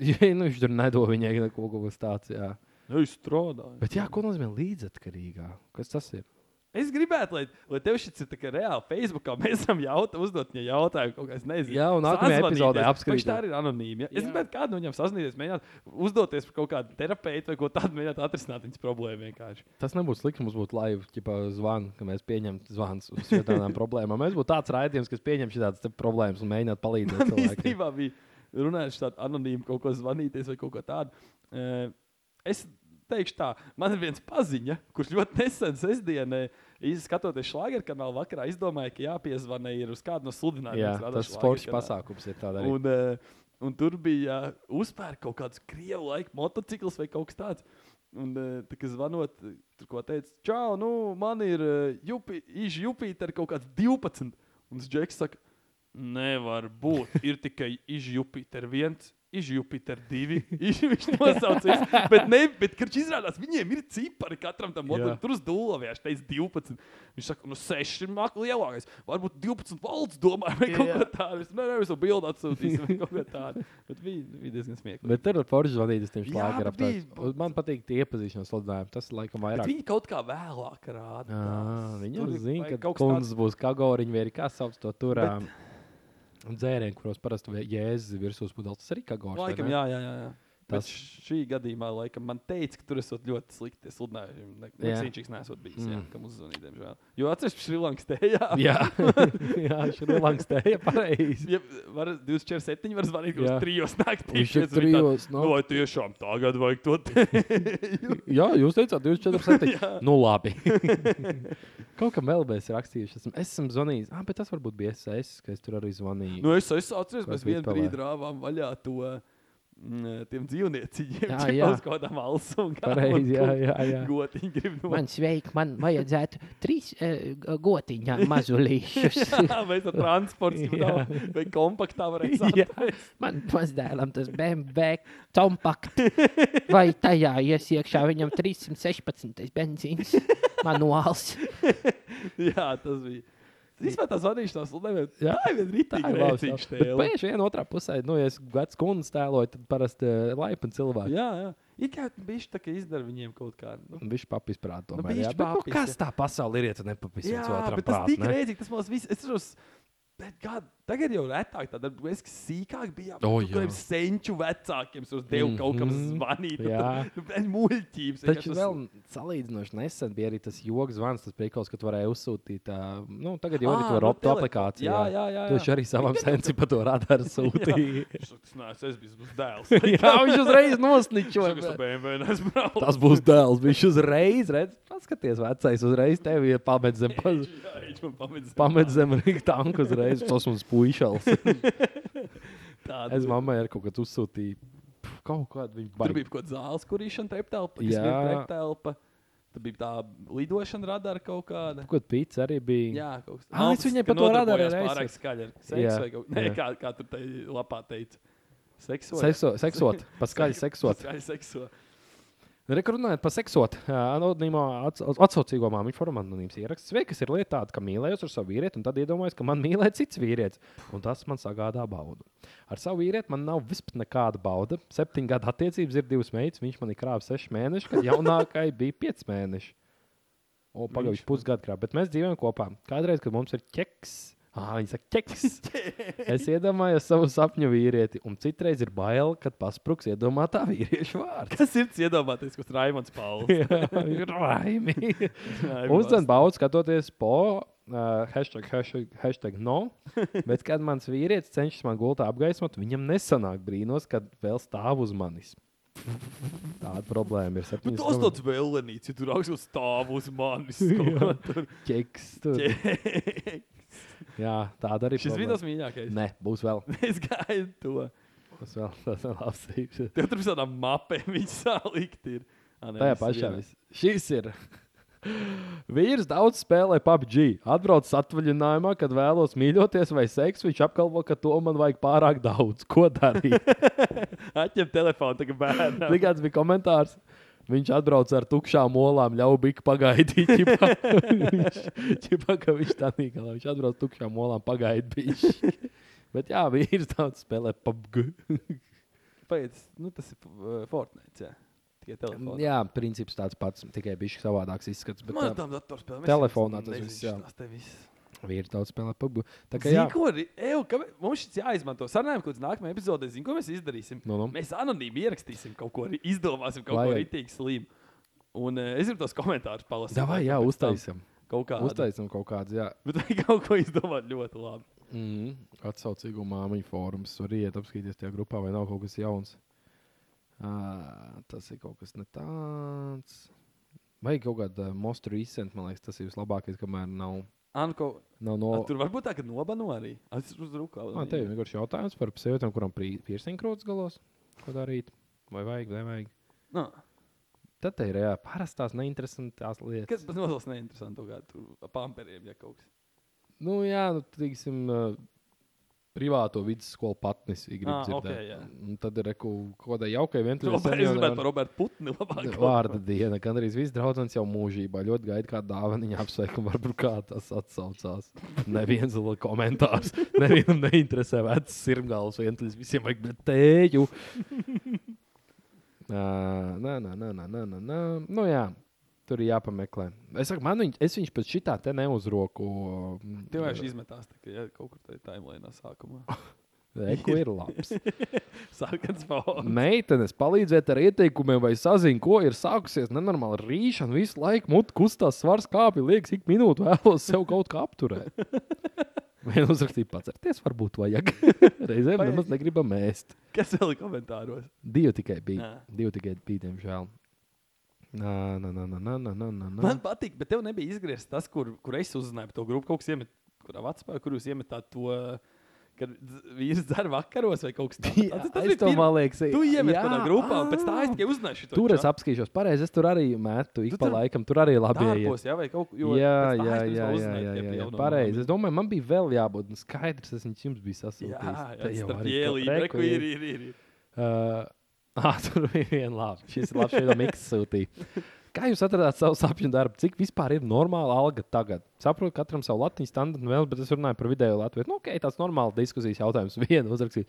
jā, nu, viņš tur nedod viņai neko kaut ko tādu. Jā.
Nu, viņš strādā.
Bet jā, ko nozīmē līdzatkarīgā? Kas tas ir?
Es gribētu, lai, lai tev šis ir tā kā reāli Facebookā. Mēs varam jautāt, uzdot viņai jautājumu, kaut kādas nezinu.
Jā, un nākamajā
Sazvanīties.
epizodē
Vai
apskatīsim.
šī Tā arī ir anonīma. Ja? Es gribētu kādu no viņiem sazināties, mēģināt uzdoties par kaut kādu terapeitu vai ko tādu, mēģināt atrisināt viņas problēmu vienkārši.
Tas nebūs slikti. Mums būtu laiva, ja zvanītu, ka mēs pieņemtu zvans uz šādām problēmām. Mēs būtu tāds raidījums, kas pieņem šādas problēmas un mēģinātu palīdzēt
Man
cilvēkiem.
īstenībā bija runājuši tādu anonīmu, kaut ko zvanīties vai kaut ko tādu. Eh, Es teikšu tā, man ir viens paziņa, kurš ļoti nesen sestdienā, skatoties šāģeru kanālu vakarā, izdomāja, ka jāpiezvana ir uz kādu no sludinājumiem.
Jā,
kas rada
tas
šlageru
sports
kanālā.
pasākums ir tāds arī.
Un, eh, un tur bija uzpērta kaut kāds krievu laika motociklis vai kaut kas tāds. Un, eh, tā kā zvanot, eh, tur ko teica, čau, nu, man ir eh, jupi, iš Jupiter kaut kāds 12. Un tas Džeks saka, nevar būt, ir tikai iš Jupiter 1. Iš Jupiter 2. Iš, viņš nosaucās. Bet, ne, bet kad izrādās, viņiem ir cipari katram tam
Jā.
modelim. Tur uz dūlaviešu teica 12. Viņš saka, nu 6 ir makli lielākais. Varbūt 12 valsts domāja, vai kaut ko tādu. Nē, nē, mēs jau bildu atsūtīsim vai kaut ko tādu. Bet bija, bija diezgan smieklīgi.
Bet tur ir forši zvanīt uz tiem
Jā,
šlāgeriem.
bija-
aptaujas. Man patīk tie iepazīšanās sludinājumi. Tas ir laikam
Bet
vairāk.
viņi kaut kā vēlāk rāda.
Jā, Viņi jau
Tur ir
zina,
vai
ka
kaut
kaut
kas
kas tāds būs kā gauriņš, vai arī kā sauc to tur. ā, Dzērieni, kuros parasti vē- jēzus virsū spūdās, tas arī kā gauriņš.
Laikam, jā, jā, jā. jā. Tas
Tas-
šī gadījumā, laikam, man teica, ka tur esot ļoti slikti. Es sludināju, ka
Jā.
viņš nesot bijis. Mm. Jā, kam uzzvanīt, diemžēl. Jo atceries, Šrilankas tējā.
jā. jā šī ir langstēja pareizi.
Ja var 24, var zvanīt, kurš
Jā.
trijos naktī.
Viņš ir
viens bija tāds,
trijos,
Nu,
no.
vai tiešām tagad vajag to teikt?
Jā, jūs teicāt, 24, 7. nu, labi. Kaut kam vēl bija rakstījuši, esmu, es esmu zvanījis. Ah, bet tas varbūt bija SS, ka es tur arī zvanīju.
nu, es, es atceros,
Kāds
mēs vienu
vipelē.
brīdi rāvām vaļā to. mm, Tiem dzīvnieciņiem
Jā,
jau
jā.
uz kaut kādām alsām.
Pareizi, jā, jā, jā.
Gotiņi grib no
Man sveiki, man vajadzētu trīs uh, gotiņā mazulīšus.
tā, vai tas transports
Jā.
vai kompaktā varētu
Jā.
saprast.
Man mazdēlam tas BMW kompakt. Vai tajā ies iekšā viņam 316. benzīns manuāls.
jā, tas bija. Vispār tā zvanīšanās, lai
Jā.
tā ir
Tā
rītīgi
ir
rēcīgs tēls.
Pēc vienā otrā pusē, nu, ja es gadu skundu stēloju, tad parasti eh, laipni cilvēki.
Jā, jā. Ir kā bišķi tā, ka izdara viņiem kaut kā. Nu,
Viņš papisprāt,
Nu,
tomēr. jā.
bišķi
Bet, nu,
papis,
kas
jā.
tā pasaule ir, ja tu nepapisīsi
Jā,
otram
bet tas
prātu,
tik
ne?
rēdzīgi, tas mums viss. Es saprotu, bet kā, tagad jau retāk tādā veidā, ka sīkāk bija
O,
jābūt
jā.
tādiem senču vecākiem, uz dievu mm -hmm. kaut kam
Mhm,
zvanīt.
jā.
Bet muļķības.
Taču vēl salīdzinoši nesen bija arī tas joks zvans, tas priekals, ka tu varēji uzsūtīt. ā, Nu, tagad jau arī
Ā,
to
no
robotu
tele-
aplikāciju.
jā, jā, jā,
Tieši
jā.
arī savam sensam par to radaru sūtīja.
Es saku, tas neesmu, es biju dēls.
jā, viņš uzreiz
Saku, es to
nosniķoja.
BMW neesmu braucis.
Tas būs dēls. Viņš uzreiz redz, paskaties, vecais uzreiz tevi pamet zem, pa-
Jā, viņš man pamedzis.
pamet zem rīktanku uzreiz. Tas mums puišals.
tādu.
Es mammai ar kaut kādu uzsūtīju pf, kaut kādu viņa
Tur
baigi.
bija kaut kāda zāles kurīšana, treptelpa,
Jā.
treptelpa. Tad bija tā lidošana radara kaut kāda.
Kaut kāda pizza arī bija.
Jā, kaut kas
Ah, es viņai par to radaru
ir
reizi-
pārāk skaļi.
Jā,
Seks vai kaut kas
jā.
tāds, kā tur tai lapā teica. Sekso.
Sekso, seksot, paskaļi seksot.
Skaļi sekso.
Rekrutējot par seksuālu, anonīmā atsaucīgo māmiņu formā anonīms ieraksts. Sveiks, ir lieta tāda, ka mīlējos ar savu vīrieti, un tad iedomājos, ka man mīlē cits vīrietis, un tas man sagādā baudu. Ar savu vīrieti man nav vispār nekāda bauda. Septiņu gadu attiecības ir divas meitas, viņš man ir krāpis seši mēneši, kad jaunākai bija pieci mēneši. O, pagājuši pusgadu krāpē, bet mēs dzīvojam kopā. Kādreiz, kad mums ir ķeks, ah, viņa saka, ķeks. Es iedomājos savu sapņu vīrieti, un citreiz ir bail, kad paspruks iedomātā vīrieša vārds.
Kas ir iedomāties, kas Raimons Pauls?
Ir laimīgi. Uzdevums baudas skatoties po uh, hashtag, hashtag, hashtag no. Bet, kad mans vīrietis cenšas man gultā apgaismot, viņam nesanāk brīnos, kad vēl stāv uz manis. Tāda problēma ir.
Bet
Septiņas
tas tāds vēlenīts, ja tu raksti stāv uz manis. kaut
Jā.
kā tur.
ķeks. Tur. Jā, tāda arī
Šis bija
problēma.
tas mīļākais.
Nē, būs vēl.
Es gāju to.
Būs vēl. Tas vēl apsīgs.
Tev tur visādām mapēm viņa sālikti ir. Ā, nē,
Tajā
viss
pašā
vienā.
viss. Šis ir. Vīrs daudz spēlē PUBG. Atbrauc atvaļinājumā, kad vēlos mīļoties vai seksu. Viņš apgalvo, ka to man vajag pārāk daudz. Ko darīt?
Atņem telefonu, tagad bērnam.
Tikāds bija komentārs. Viņš atbrauca ar tukšām olām, ļauj bija pagaidīt. Ķipā, viņš, ķipā, ka viņš tā nīkā, viņš atbrauca ar tukšām olām, pagaidīt. Bet jā, vīrs daudz spēlē PUBG.
Pēc, nu, tas ir uh, Fortnite. Jā. Tikai telefonā.
jā, princips tāds pats, tikai bijis savādāks izskats. Bet,
Man ir
jā,
tam datorspēlēm.
telefonā tas viss, jā.
viss.
vīrs daudz spēlē PUBG. Tā kā jā,
Zini, ko arī eju, ka mums šis jāizmanto. Sarunājam, kāds nākamajā epizodē, zinu, ko mēs izdarīsim.
Nu, nu.
Mēs anonīmi ierakstīsim kaut ko, arī izdomāsim kaut ko
Vajag.
rītīgi slimu. Un uh, es gribu tos komentārus palasīt.
davai, jā,
Pēc tam
uztaisam.
Kaut kā
Uztaisam kaut kādas, jā,
Bet vajag kaut ko izdomāt ļoti labi.
mm, atsaucīgu māmiņu fórums. Var iet apskatīties tajā grupā, vai nav kaut kas jauns. Uh, tas ir kaut kas ne tāds. Vai kaut kāda most recent, man liekas, tas ir vislabākais, kamēr nav,
Anko,
nav
o...
no.
tur varbūt tā, ka nobano arī. Es uzruku.
Man te ir vienkārši jautājums par sievietēm, kurām piersingkrots galos. Ko darīt? Vai vajag, vai vajag?
No.
Tad te ir jā, parastās neinteresantās lietas.
Kas tas nozīmē? Neinteresanti, kaut kā tur pamperiem, ja kaut kas.
Nu, jā, nu, teiksim, ā, privāto vidusskolu patnis. ir grib
Ah,
dzirdēt.
ok, jā.
Un Tad ir kaut kāda jauka
Tur jau
vientuļa.
bija runa par Robertu Putnu. labāk kaut
Vārda
ko.
diena, gan arī viss draugs jau mūžībā. Ļoti gaidu kādu dāvanu, apsveikumu, varbūt kā tas atsaucās. Neviens vēl komentārs. Nevienam neinteresē vecs sirmgāls, vientuļs visiem vajag bet tēju. Nā, nā, nā, nā, nā, nā, nā, nā. Nu jā, tur ir jāpameklē. Es saku, man viņ, es viņš pēc šitā te neuzroku. mm,
Tev jau šī izmetās, tā, ka ja, kaut kur tajā timelīnā sākumā.
Eko ir labs.
Sarkans fons.
Meitenes, palīdziet ar ieteikumiem, vai saziņot, ko ir sākusies nenormāla rīšana. Visu laiku mutē kustās svars kāpj, liekas, ik minūti vēlos sev kaut kā apturēt. Vienu uzrakstīju, pacerieties, varbūt vajag. Reizēm
Vajag.
nemaz negribam ēst.
Kas vēl ir komentāros?
Divi tikai bija.
Jā.
Divi tikai bija, diemžēl. Nā, nā, nā, nā, nā, nā, nā, nā.
Man patīk, bet tev nebija izgriezts tas, kur, kur es uzzināju par to grupu. Kaut kas iemet, kurā Vatspā, kur jūs iemetāt to, kad dz- vīrs dzer vakaros vai kaut kas tāds.
Jā, es to, man liekas,
Tu iemet
jā,
kādā grupā, un pēc
ā.
tā es tikai uzzināju šo
Tur es apskatīšos, pareizi. Es tur arī metu, ik
Tu
pa
tur
laikam. Tur arī labi iet.
apgāju. Jā, vai kaut
jā, jā,
ko
jā, jā, jā, jā, jā. pareizi. Es domāju, man bija vēl jābūt nu, skaidrs, es viņus jums biju sasūtījis.
Jā,
Te
jā,
jau
starp
arī kaut-
ielīdu,
re,
re,
ko
kur ir, ir, ir. ir.
Uh, ah, tur bija viena laba. Šis ir labs, šeit miks sūtīja. Kā jūs atradāt savu sapņu darbu? Cik vispār ir normāla alga tagad? Saprotu, katram savu latviešu standartu vēl, bet es runāju par vidēju latviešu. Nu, ok, tāds normāls diskusijas jautājums. Vienu uzrakstīju.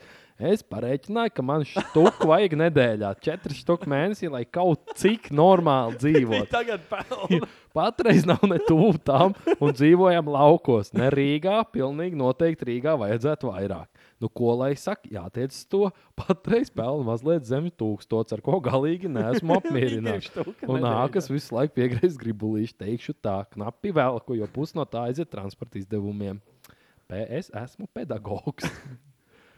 Es parēķināju, ka man štuku vajag nedēļā, četri štuku mēnesī, lai kaut cik normāli
Viņi
dzīvotu.
tagad pelna.
Patreiz nav ne tuvu tam, un dzīvojam laukos. Ne Rīgā, pilnīgi noteikti Rīgā vajadzētu vairāk. Nu, ko lai saka, jātiec uz to. Patreiz pelnu mazliet zem tūkstots, ar ko galīgi neesmu apmierināts.
štuka
Un
nedēļā.
nākas visu laiku piegriezt gribulīšu, teikšu tā, knapi vēlku, jo pus no tā aiziet transporta izdevumiem. PS esmu pedagogs.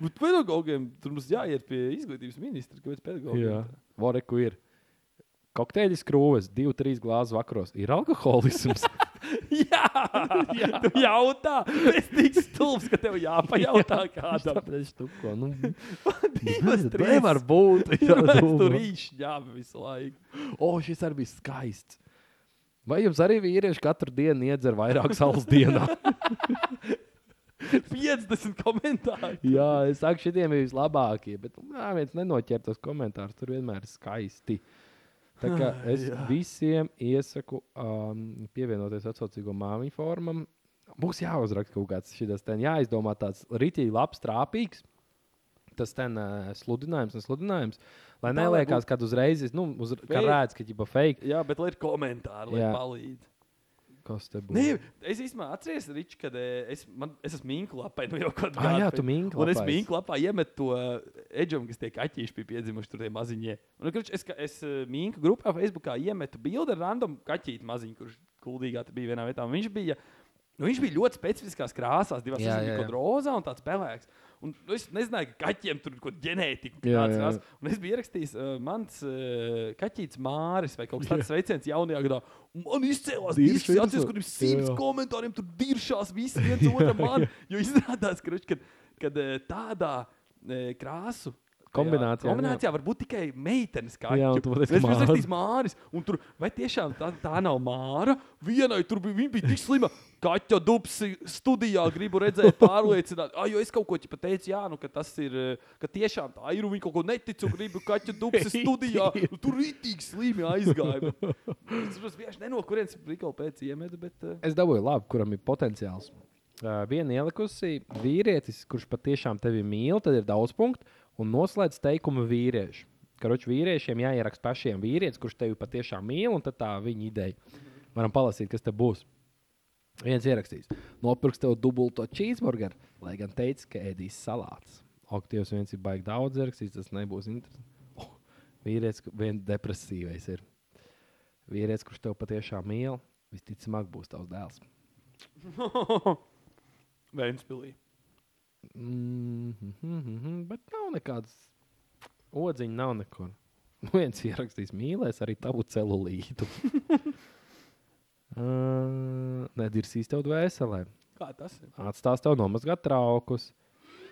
Bet pedagogiem tur mums jāiet pie izglītības ministra. Kāpēc
Jā,
pedagogiem?
Voreku ir. Kokteļi skrūves, 2-3 glāzes vakaros. Ir alkoholisms.
Jā, jā. tu jautā. Es tik stulbs, ka tev jāpajautā kādam.
Tāpēc štuko. Nu,
Divas, trīs.
Nevar būt.
Tur tur rīši jāba visu laiku.
O, šis arī bija skaists. Vai jums arī vīrieši katru dienu iedzer vairāk saules dienā?
50 komentāri.
Jā, es saku, šitiem ir vislabākie. Bet nā, viens nenoķer tos komentārus. Tur vienmēr ir skaisti. Tā kā es visiem iesaku um, pievienoties atsaucīgo māmiņu formam. Būs jāuzraksta kaut kāds šis ten, jāizdomā tāds rītīgi labs, trāpīgs. Tas ten uh, sludinājums, un sludinājums, lai
Tā, lai
neliekās, ka uzreiz, ir, nu, uz, ka
Fake.
redz, ka ģipa fake.
Jā, bet lai ir komentāri, lai
Jā.
palīdz.
Kas te būs?
Nē, es īstenībā atceros, Rič, kad eh, es, man, es esmu minklapā nu jau kādu
Ah, jā,
gadu.
tu minklapā
Un es
esi.
minklapā iemetu to eh, edžam, kas tiek attīstīts pie piedzimuši tur tie maziņie. Un, krič, es, ka- es eh, minku grupā Facebookā iemetu bildi ar random kaķīti maziņu, kurš kuldīgā te bija vienā vietā. Un Viņš bija Nu, viņš bija ļoti specifiskās krāsās, divās
Jā,
pusēs
jā,
bija
jā.
kaut kāda rozā un tāds pelēks. Un nu, es nezināju, ka kaķiem tur ir kaut kāda ģenētika.
Jā,
Jā,
jā,
jā.
jā.
Un es biju ierakstījis, uh, mans uh, kaķis Māris vai kaut kas tāds sveiciens jaunajā gadā. Un Man izcēlās
Diršas
īsi, atceros,
visur.
kur ir simts
Jā, jā.
komentāriem, tur diršās visi viens otram. Man, jo izrādās, ka kad, kad uh, tādā uh, krāsu. tajā
Kombinācijā, jā.
kombinācijā var būt tikai meitenes kaķis.
Jā, un tu pateici, ka Māris.
Es Māris. Un tur, vai tiešām tā, tā nav Māra? Vienai tur bija, viņa bija tik slima. Kaķa dubsi studijā gribu redzēt, pārliecināt. Ah, jo es kaut ko pat teicu, jā, nu, ka tas ir, eh, ka tiešām tā ir. un Viņa kaut ko neticu, gribu kaķa dubsi studijā. Nu, Tur rītīgi slimi aizgāja. bet Es saprotu, vienkārši ne no kurienes brīkā pēc iemeta, bet eh,
Es dabūju labu, kuram ir potenciāls. Uh, Viena ielikusi vīrietis, kurš patiešām tevi mīl, tad ir daudz punktu un noslēdz teikumu vīrieši. Karoči vīriešiem jāieraksta pašiem vīrietis, kurš tevi patiešām mīl, un tad tā viņa ideja. Varam palasīt, kas te būs. Viens ierakstīs, nopirks tev dubulto cheeseburgeru, lai gan teica, ka ēdīs salātus. Aktīvs viens ir baigts daudz ierakstīt, tas nebūs interesanti. Oh, vīrietis, ku- viens depresīvais ir. Vīrietis, kurš tev patiešām mīl, visticamāk būs tavs dēls.
eh, Vēnspilī.
Mhm, mhm, Bet nav nekādas odziņa, nav nekur. Viens ierakstīs, mīlēs arī tavu celulītu. Uh, Nedirsīs tev dvēselē.
Kā tas ir?
Atstās tev nomazgāt traukus.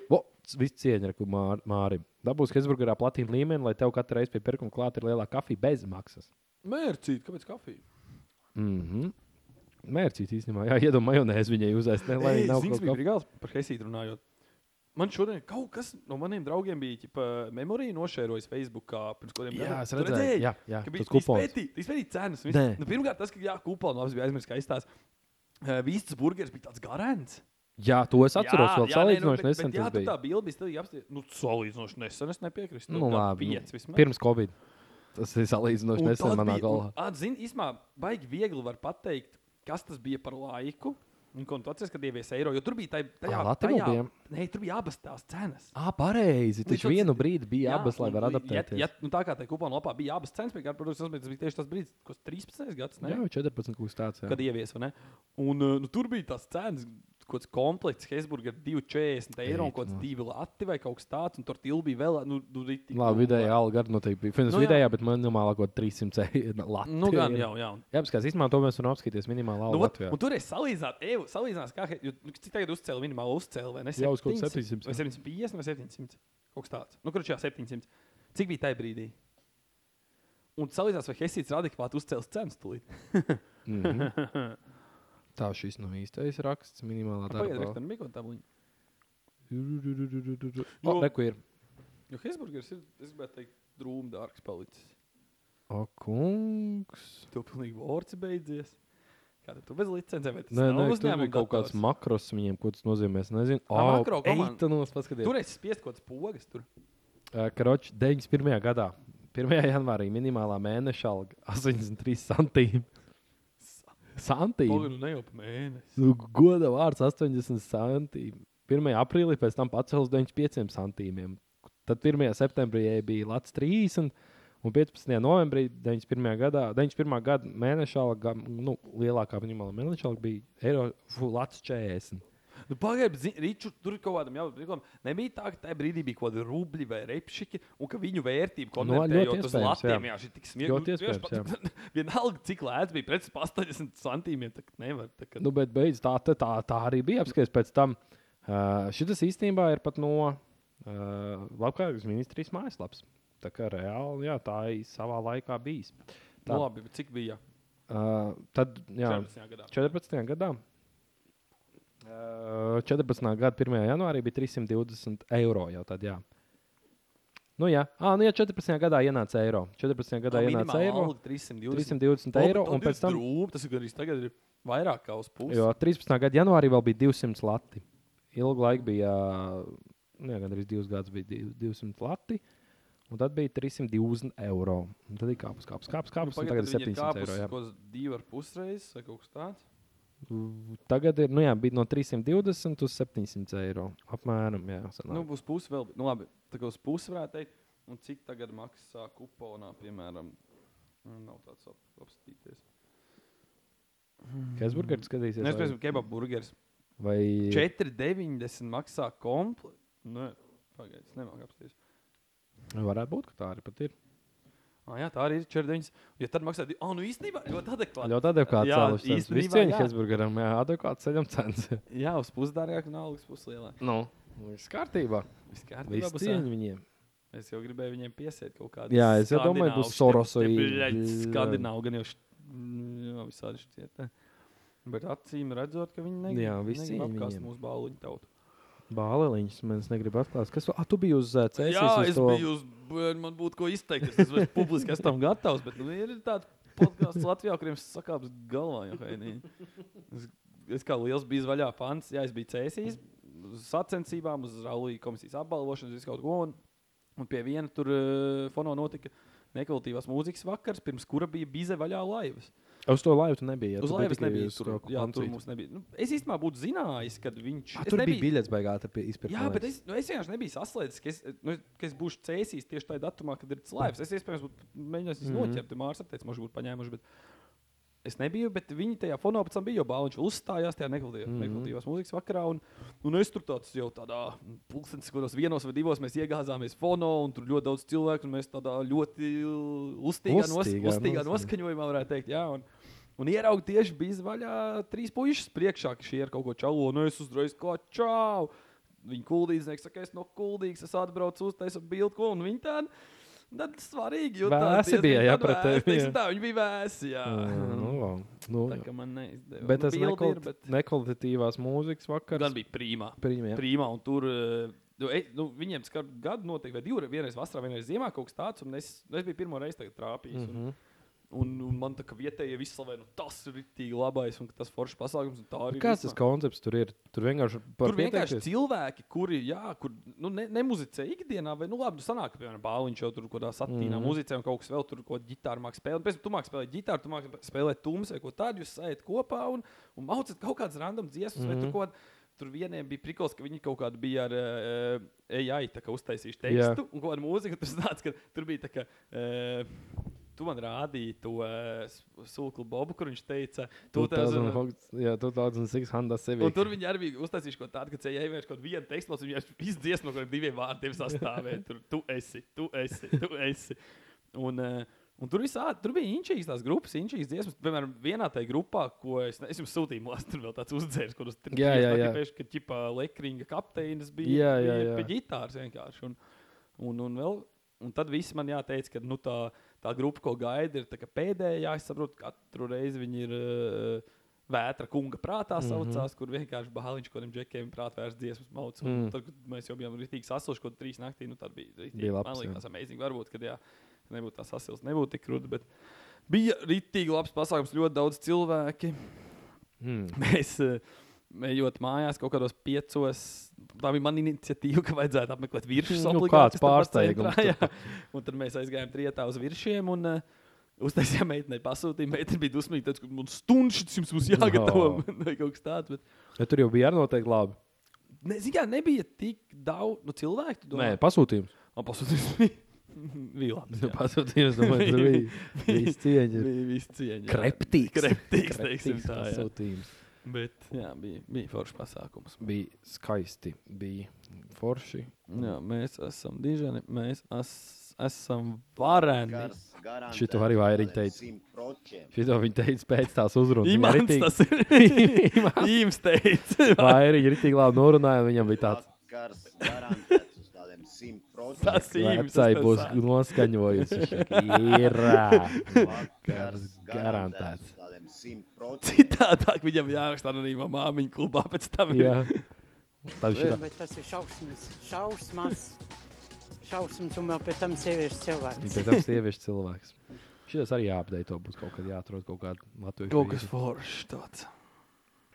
O, c- Viss cieņa, ka Mār, Mārim. Dabūs Hezburgerā platīna līmeni, lai tev katru reizi pie pirkuma klāta ir lielā kafija bez maksas.
Mērcīt, kāpēc kafija?
Mhm. Mērķis īstenībā, jā, iedomā majonēzi viņai uzēst. Ne, lai
Ei,
viņa nav
zini,
kaut
kas bija
kā.
brīnums par Helsīdu runājot. Man šodien kaut kas no maniem draugiem bija ģipa, memorija nošērojis Facebook pirms kaut kādiem
Jā, es
Tu
redzēju,
redzēji?
jā, jā,
ka
tas
bija
kupons.
izpētīts cenas. un
Nē.
viss. Nu, pirmkārt, tas, ka jā, kupons labs bija aizmirsts, ka aizstās. Uh, Vīsts burgeris bija tāds garants.
Jā, to es atceros. Jā, vēl
nē, nu,
salīdzinoši
bet-
nesen
bet Jā,
tas
tu
bija.
tā bilde bija stilīgi apstāties. Nu, salīdzinoši nesen es nepiekrītu.
Nu, labi, nu,
piec vismaz. Nu,
pirms Covid. Tas ir salīdzinoši nesen manā galvā.
Atzinu, īstenībā, baigi viegli var pateikt, kas tas bija par laiku. Un, ko tu atceries, kad ievies eiro, jo tur bija tā
Ā, Latvijā bija?
Nē, tur bija abas tās cenas.
Ah, pareizi. Taču
tāds-
vienu brīdi bija jā, abas, lai
un,
varētu
ja,
adaptēties.
ja, nu, tā kā tajā kuponu lapā bija abas cenas, bet, protams, tas bija tieši tas brīdis, kas 13. gads, ne?
jā, jau 14 kaut kas tāds. jā.
kad ievies, vai ne? Un uh, nu, tur bija tas cenas. Kaut kāds komplekts, Helsburgā 2,40 eiro, un
Eit,
kaut kāds
nu.
divi lati vai kaut kas tāds, un tur tilbi bija vēl, nu, nu, rītīgi
Labi,
nu,
vidējā alga arī noteikti bija. Finanses
Nu, jā.
nu, vidējā, bet minimālā kaut kāda 300 eiro. lati
Nu, gan
ir.
jau, jā. Un
Jā, apskatās, īstenībā to mēs varam apskatīties minimālā
Nu,
alga.
ot,
Latvijā.
un tur arī salīdzināt, Evu, salīdzinās, kā he- jo, nu, cik tagad uzcēla minimālo uzcēlu. vai ne?
Jā, uz kaut kāda 700,
700, Vai 750 vai 700? Kaut kas tāds. Nu, kurš jā, 700. Cik bija tajā brīdī? Un salīdzinās, vai Helsīds ir adekvāti uzcēlis cenas tūlīt.
Nu, Mhm. Tā šis nav īstais raksts. Minimālā
Pagaidiet,
darba.
kāda bija tā līnija.
O,
Jo-
Reku ir.
Jo Helsburgers ir, es gribētu teikt, drūmi dārgs palicis.
O, kungs.
Tu pilnīgi vorci beidzies. Kā tu bez licencēm? vai tas
Nē, nē,
nav
tur
uzņēmuma
bija kaut kāds
dators?
makros viņiem, ko tas nozīmē. Es nezinu.
Ah, makro komanda.
eitānos, paskatieties.
Tur es spiestu kaut kādas pogas. Tur.
Karoči, 91. gadā, 1. janvārī minimālā mēneša alga 83 santīmi.
Poga
Santīmi?
nu ne jau pa mēnesi.
Nu, Goda vārds 80 santīmi. 1. aprīlī pēc tam pacēlus 95 santīmiem. Tad 1. septembrī jai bija Latvijas 30. Un 15. novembrī 91. gadā, 91. gada mēneša alga, nu, lielākā minimālā mēneša alga bija eiro, fu, Latvijas 40.
Nu, Pagaidiet, Riču, tur kaut kādam jābūt. Nebija tā, ka tajā brīdī bija kaut kāda rubļa vai repšķi, un ka viņu vērtība konvertējot
Nu, ļoti
uz
iespējams, jā.
latiem, jā, šī tik
Ļoti
smieklīgi.
iespējams,
Vienalga, cik lēts bija pret 80 centīmiem, tā kā nevar. Tā kā,
Nu, bet beidz, tā, tā, tā, tā arī bija apskatīts pēc tam. Uh, šis īstenībā ir pat no uh, Labklājības ministrijas mājaslapas. Tā kā reāli jā, tā ir savā laikā bijis.
nu, labi, bet cik bija
Uh, tad, jā,
14. gadā?
14. gadā. Uh, 14. gada 1. janvārī bija 320 eiro. Jau tad, jā. Nu, jā. Ah, nu, jā, 14. gadā ienāca eiro. 14. gadā
Tā
ienāca
minimāla
eiro.
alga 320
320 eiro. Un pēc tam,
Drūm, tas ir gandrīz tagad ir vairāk kā uz pusi.
Jo 13. gada janvārī vēl bija 200 lati. Ilgu laiku bija, nu, gan arī divus gadus bija div- 200 lati. Un tad bija 320 eiro. Un tad ir kāpus, kāpus, kāpus. kāpus nu, tagad ir 700 eiro. Jā.
Kaut kas divi ar pusreiz vai kaut kas tāds.
Tagad ir, nu, jā, bija no 320 līdz 700 eiro. Apmēram, jā.
Nu,
sanāk.
būs pusi vēl. Nu, labi, tā kā uz pusi varētu teikt. Un cik tagad maksā Nu, kuponā, piemēram, Mm, nav tāds ap, apstīties.
Kas burgeris skatīsies?
Mēs
vai-
esam Nu, kebab burgeris.
Vai
4,90 maksā komplekts. Nē, pagaidiet, nemāku apstāties.
varētu būt, ka tā arī pat ir.
Ah, jā, tā arī ir 4,90. Ja tad maksā, ah, nu īstenībā ļoti adekvāti.
Ļoti adekvāts
Jā,
cēlus.
īstenībā
Viss cieņa
jā.
Hesburgeram, jā, adekvāts ceļam cents.
Jā, uz pusdārgāk, nav algas puslielāk.
Nu, viss kārtībā.
Viss kārtībā.
Viss
būs,
cieņa
ā?
viņiem.
Es jau gribēju viņiem piesiet kaut kādu.
Jā, es jau domāju, būs Sorosu i-
Skandināvu gan jau, št- jau visādi šitie. te. Bet acīm redzot, ka viņi negrib,
Jā, viss
negrib
cieņa
apkāst
viņiem.
mūsu bāluņu tautu.
Bāleliņš, man es negribu atklāt. Kas tu, ah, tu biji uz uh, CS?
jā,
uz
es
to...
biju uz, bērnu, man būtu ko izteikt. Es esmu publiski es tam gatavs, bet nu, ir tāds podkāsts Latvijā, kuriem sakāps galvā jau hainī. Es, es kā liels biju vaļā fans, jā, es biju cēsīs uz sacensībām, uz Raulija komisijas apbalvošanas, visu kaut ko. Un, un pie viena tur uh, fono notika nekvalitīvās mūzikas vakars, pirms kura bija bize vaļā laivas.
uz to laivu. Tu nebija.
Uz laivas nebija.
Tur,
Tur, jā, tur mums nebija. Nu, es īstenībā būtu zinājis, kad viņš.
ah,
es
tur nebija.
nebiju-
bija biļets baigāta pie izpirkuma.
Jā, bet es, nu, es vienkārši nebiju saslēdzis, ka es, nu, ka es būšu cēsījis tieši tajā datumā, kad ir slēpts. Es iespējams būtu mēģinājis viņu mm -hmm. noķert, mākslinieks apteicis, možbūt būtu paņēmuši. Bet... Es nebiju, bet viņi tajā fonā pēc tam bija jau bāliņš. Uzstājās tajā
Mhm.
nekvalitīvās mm -hmm. mūzikas vakarā. Un, un es tur tāds jau tādā nu, pulkstenis, kuros vienos vai divos mēs iegāzāmies fonā, un tur ļoti daudz cilvēku, un mēs tādā ļoti uztīgā, nos,
Uztīgā
uztīgā
noskaņa.
noskaņojumā varētu teikt. Jā, un, Un ieraugu tieši bija vaļā trīs puikas priekšā, ka šie ir kaut ko čalo, un es uzreiz kā čau. Viņa kuldīdznieks saka, es no kuldīgas, es atbraucu uz taisu bildi, ko un viņi tādu. Tad svarīgi, jo
Vēsi bija, jā, pret tevi, jā.
tevi. Tā, viņi bija vēsi, jā.
Nu, vau. nu,
Tā kā man neizdevās.
bet tas
nu, bildi
nekvalit...
ir, bet
nekvalitatīvās mūzikas vakars.
gan bija prīmā.
Prīmā, jā.
Prīmā, un tur, eh, nu, e, nu, viņiem skar gadu noteikti, vai divreiz, vienreiz vasarā, vienreiz ziemā kaut kas tāds, un es, nu, es biju pirmo reizi tagad trāpījis. Mm -hmm.
Mhm.
Un, un man tā kā vietējie visi slavē, nu tas ir rītīgi labais, un ka tas foršs pasākums, un tā arī
Kāds tas
vismaz.
koncepts tur ir? Tur vienkārši par
Tur vienkārši
pieteikties?
cilvēki, kuri jā, kur, nu, ne, nemuzicē ikdienā, vai nu labi, nu, sanāk, ka, piemēram, bāliņš jau tur kaut kādā satīnā
Mhm.
mm. muzicē, un kaut kas vēl tur, ko ģitāra mākslā spēlē. Un Pēc tam tu mākslā spēlē ģitāru, tu mākslā spēlē tums, vai ko tādu, jūs sajat kopā un, un maucat kaut kādas random dziesmas, mm. vai
Mhm.
tur kaut ko. Tur vieniem bija prikals, ka viņi kaut kādu bija ar uh, AI tā kā uztaisījuši
Jā.
tekstu un kaut kādu mūziku. Tur, sanāca, ka tur bija tā, ka uh, tu man rādīji to uh, sūkli Bobu, kur viņš teica, tu tā zini.
2006 Honda Civic.
Un tur viņi arī bija uztaisījuši kaut tādu, ka ceļā vienkārši kaut viena teksta, un viņš izdzies no kaut kādiem diviem vārdiem sastāvēja. Tur tu esi, tu esi, tu esi. Un, eh, un tur, visā, tur bija inčīgas tās grupas, inčīgas dziesmas. Piemēram, vienā tajā grupā, ko es, ne- es jums sūtīju, last, tur vēl tāds uzdzērs, kurus tur
Jā, jā, jā.
Pēc, ka ķipā Lekringa kapteinis bija,
Jā, jā,
bija
jā.
pie ģitāras vienkārši. Un, un, un, vēl, un tad viss man jāteic, ka nu, tā, tā grupa, ko gaida, ir tā kā pēdējā. Es saprotu, ka katru reizi viņi ir uh, vētra kunga prātā
Mhm.
saucās, mm -hmm. kur vienkārši bāliņš kaut kādiem džekiem prātā vērsts dziesmas mauts. Mm.
Mm.
Tad, kad mēs jau bijām rītīgi sasuši, kaut trīs naktī, nu tad bija rītīgi.
Bija labs,
Man
jā.
liekas, amazing. Varbūt, kad jā, nebūtu tā sasils, nebūtu tik krūti. Bet... Bija rītīgi labs pasākums, ļoti daudz cilvēki.
Mm.
Mēs eh, ejot mājās kaut kādos piecos, tā bija mana iniciatīva, ka vajadzētu apmeklēt virsmas
Nu, kāds pārsteigums tur
Tad mēs aizgājām rietā uz virsiem. Un, eh, Uztaisījām meitenei, pasūtījām. Meitene bija dusmīga, teica, ka mums stundas šis mums jāgatavo.
No.
Vai kaut kas tāds. Bet...
Ja tur jau bija arī noteikti labi.
Ne, zin, kā, nebija tik daudz nu, cilvēku. tu
Nē,
domā?
pasūtījums.
Man pasūtījums bija. Bija labi.
Jā. Pasūtījums, domāju, tur bija. Viss cieņa.
Bija viss cieņa. jā.
Kreptīgs.
Kreptīgs, teiksim tā. Jā.
pasūtījums.
Bet jā, bija, bija foršs pasākums.
Bija skaisti, bija forši.
Jā, mēs esam dižani, mēs es, esam vareni.
Gars, garantēts
Šito arī vairīgi
tādiem
teica.
simt procentiem.
Šito viņi teica pēc tās uzrunas. Viņa
Imants
ritīgi-
tas ir. Imants teica.
Vai arī ir tik labi norunāja, un viņam bija tāds
Gars, garantēts uz tādiem simt
Tas
procentiem.
ir Imants.
vecais būs noskaņojums. Viņš saka, Ir ā, vakars
garantēts
garantēts.
uz tādiem simt procentiem.
Citādāk viņam jāraksta anonīmā māmiņa klubā pēc tam. ir-
Jā. Tam šitā.
Bet tas ir šausmas, šausmas, šausmas un vēl pēc tam sieviešu cilvēks.
Pēc tam sieviešu cilvēks. Šis arī jāapdei to būs kaut kad jāatrod kaut kāda Latvijas
Kaut kas
vīriša.
foršs tāds.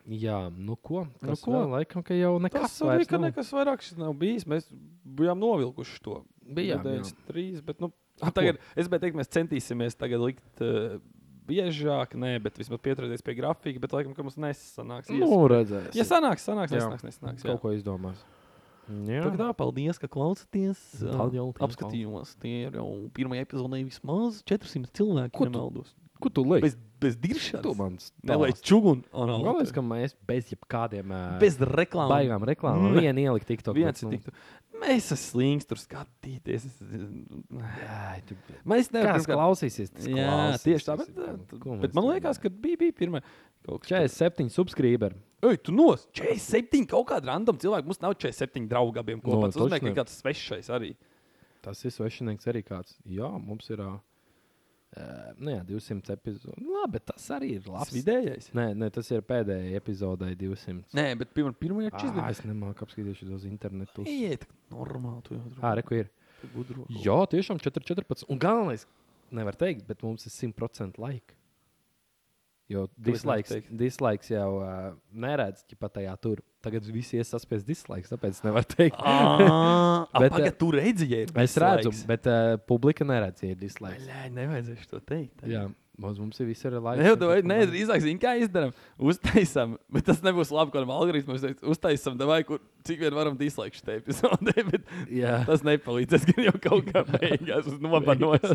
Jā, nu ko?
Nu
Kas
ko?
nu ko? Vēl, laikam, ka jau nekas
Tas arī, ka
nav.
nekas vairāk šis nav bijis. Mēs bijām novilkuši to.
Bijām,
Nedēļas trīs, bet, nu,
Ko?
tagad, es biju teikt, mēs centīsimies tagad likt uh, biežāk, nē, bet vismaz pieturēties pie grafika, bet laikam, ka mums nesanāks.
Nu, redzēsim.
Ja sanāks, sanāks,
Jā.
nesanāks, nesanāks. jā.
kaut ko izdomās. Jā,
Tā, kā tā, paldies, ka klausāties.
Paldies,
Apskatījumos tie ir jau pirmajā epizodē vismaz 400 cilvēki,
Ko
ja nemaldos.
Ko tu lieki?
Bez, bez
Tu
diršanas.
man
Nelaiž čugunu. Un, un,
Galvenais, ka mēs bez jebkādiem ā,
bez reklāmas.
baigām reklāmām Mm.
Ne.
vienu ielikt TikTok.
Viens
bet,
ir
nu,
tiktu. Mēs esam slings tur skatīties. Es-
ai, tu-
Mēs nevaram
Kāds
skatīties.
klausīsies? tas
Jā,
klausīsies,
tieši tā. Bet,
jā. Ko
bet,
mēs
bet man
te
liekas, ka bija, bija pirmā. Kaut kas
47 subscriberi.
Ej, tu nos! 47 kaut kāda random cilvēka. Mums nav 47 draugu abiem
No,
kopā. Tas nozīmē,
taču
ka
ne.
ir kāds svešais arī.
Tas ir svešinieks arī kāds. Jā, mums ir. ā, ā, Nu jā, 200 epizodes. Labi, bet tas arī ir
Tas
labs.
vidējais.
Nē, nē, tas ir pēdējai epizodei 200.
Nē, bet pirmā ir
Ā,
čizda.
es nemāku apskatīties uz internetu.
Iet, normāli tu jau tur
Ā, reku ir.
gudro.
Jā, tiešām 4,14. Un galvenais, nevar teikt, bet mums ir 100% laika. Jo
nevar
dislikes,
teikt?
dislikes jau uh, neredz, ja pat tajā tur. Tagad viss iesaistās dislikes, tāpēc nevar teikt. Bet,
Bet
eh,
tagad tu redzi, ja ir.
Es redzu,
Ah, dislikes.
bet uh, publika neredz, ja ir dislikes.
Nē, nevajadzēs to teikt.
Jā, mums, mums ir viss ir laiks.
Nē, vai, nē, drīzāk zinu, kā izdarām. Uztaisām, bet tas nebūs labi, kādam algoritmam. uztaic- Uztaisām, vai kur cik vien varam dislike šai epizodē, bet
Jā.
tas nepalīdzēs. Gan jau kaut kā beigās uz nobanos.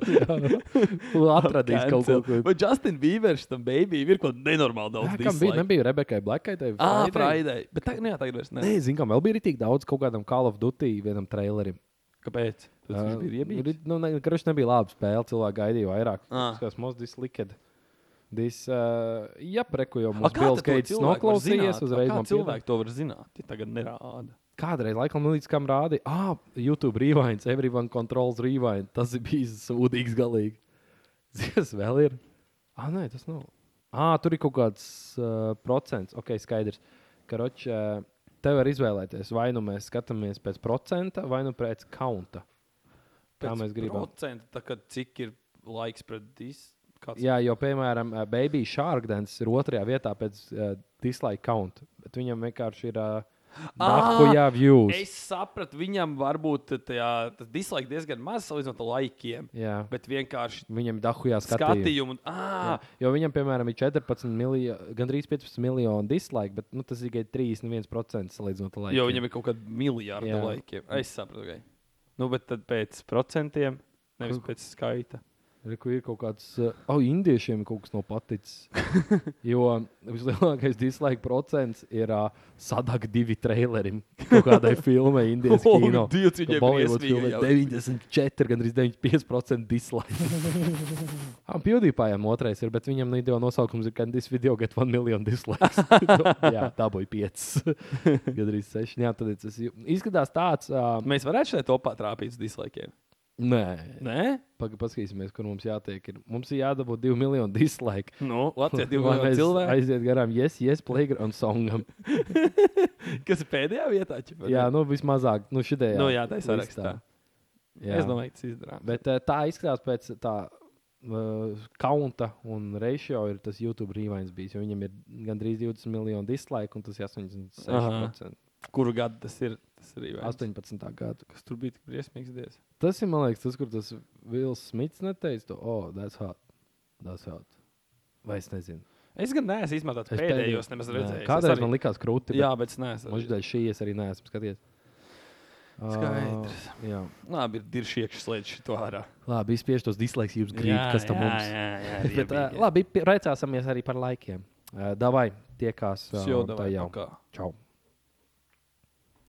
atradīs kaut ko tādu.
Vai Justin Bieberš tam bērnam ir kaut kas nenormāli daudz?
Kā
dislike.
bija? Nebija Rebekai Blakai. tai
Ah,
Friday?
Friday. Bet tagad, nu jā, tagad vairs ne.
Nē, zinām, vēl bija tik daudz kaut kādam Call of Duty vienam trailerim.
Kāpēc? Tas viņš bija iebīts.
Nu, ne, karš nebija laba spēle. Cilvēki gaidīja vairāk.
Ah.
Tas mums bija slikti. Dis, uh, jā, preku jau
A,
mums
kā
Bills
tad to
Keits
cilvēku var
noklausījies
zināt?
uzreiz.
A,
man
Kā
piedod.
cilvēki to var zināt? Ja tagad nerāda.
Kādreiz, laikam, līdz kam rādīja, ah, YouTube rewinds, everyone controls rewind. Tas ir bijis sūdīgs galīgi. Zini, Kas vēl ir? Ah, nē, tas nav. Ah, tur ir kaut kāds uh, procents. Ok, skaidrs. Karoč, uh, tev var izvēlēties, vai nu mēs skatāmies pēc procenta, vai nu pēc kaunta. Kā
Pēc
mēs gribam.
Procenta, tā kā cik ir laiks pret dis. Kāds
Jā, jo, piemēram, uh, Baby Shark Dance ir otrajā vietā pēc uh, dislike count. Bet viņam vienkārši ir uh, nahujā views.
Ah! Es sapratu, viņam varbūt tajā, tas dislike diezgan maz salīdzinot ar laikiem,
Jā,
bet vienkārši
viņam ir dahujā skatījumi.
skatījumu. un- Ā,
Jo viņam, piemēram, ir 14 miljoni, gandrīz 15 miljoni dislike, bet nu, tas ir tikai 31% salīdzinot ar laiku.
jo viņam ir kaut kāda miljarda
Jā.
laikiem. Es sapratu, ka. Nu, bet tad pēc procentiem, nevis pēc skaita.
ir, ir kaut kāds, uh, oh, indiešiem kaut kas nav paticis. jo vislielākais dislike procents ir uh, sadak divi trailerim kaut kādai filmai, indiešu
O,
kino.
Dievs, viņiem
Bollywood
briesmīgi
filmai
jau.
94, gandrīz 95% dislike. Ah, Pildījumam otrais ir, bet viņam video nosaukums ir Can this video get 1 million dislikes? jā, dabūj 5, gandrīz 6. Jā, tad tas ju- izskatās tāds. Uh,
Mēs varētu šeit topā trāpīt uz dislaikiem.
nē,
Nē,
Paga, paskatīsimies, kur mums jātiek. Ir. Mums ir jādabū 2 miljoni dislike.
nu, Latvijas divi
Lai
miljoni
mēs
cilvēki,
Aiziet garām, yes, yes, playground songam.
kas ir pēdējā vietā. Ķipa,
jā, nu vismazāk, nu šitā.
nu, jā, tā ir
listā.
sarakstā.
nu, Jā.
Es domāju, ka tas izdarām.
Bet eh, tā izskatās pēc tā uh, kaunta un ratio ir tas YouTube rewinds bijis, jo viņam ir gandrīz 20 miljoni dislike un tas ir 86%.
Kuru gadu tas ir? Tas arī vēl.
18. gadu.
Kas tur bija tik briesmīgs? Dievs.
Tas ir, man liekas, tas, kur tas Vils Smits neteica, to, oh, that's hot, that's hot. Vai es nezinu.
Es gan neesmu izmantojis
Es
pēdējos,
pēdējo-
nemaz
Nē,
redzējis.
Kādreiz man likās krūti. bet
Jā, bet es neesmu.
Možda šī es arī neesmu skatījies.
Skaidrs.
Uh, jā.
Labi, ir dirši iekšā slēdz šo ārā.
Labi, izspiež tos dislike, jūs gribat, kas tam mums ir.
Jā, jā,
Bet, eh, uh, labi, pie- priecāsimies arī par laikiem. Uh, Eh, davai, tiekās.
Tas
ā,
jau
un tā
tādā jau.
Čau!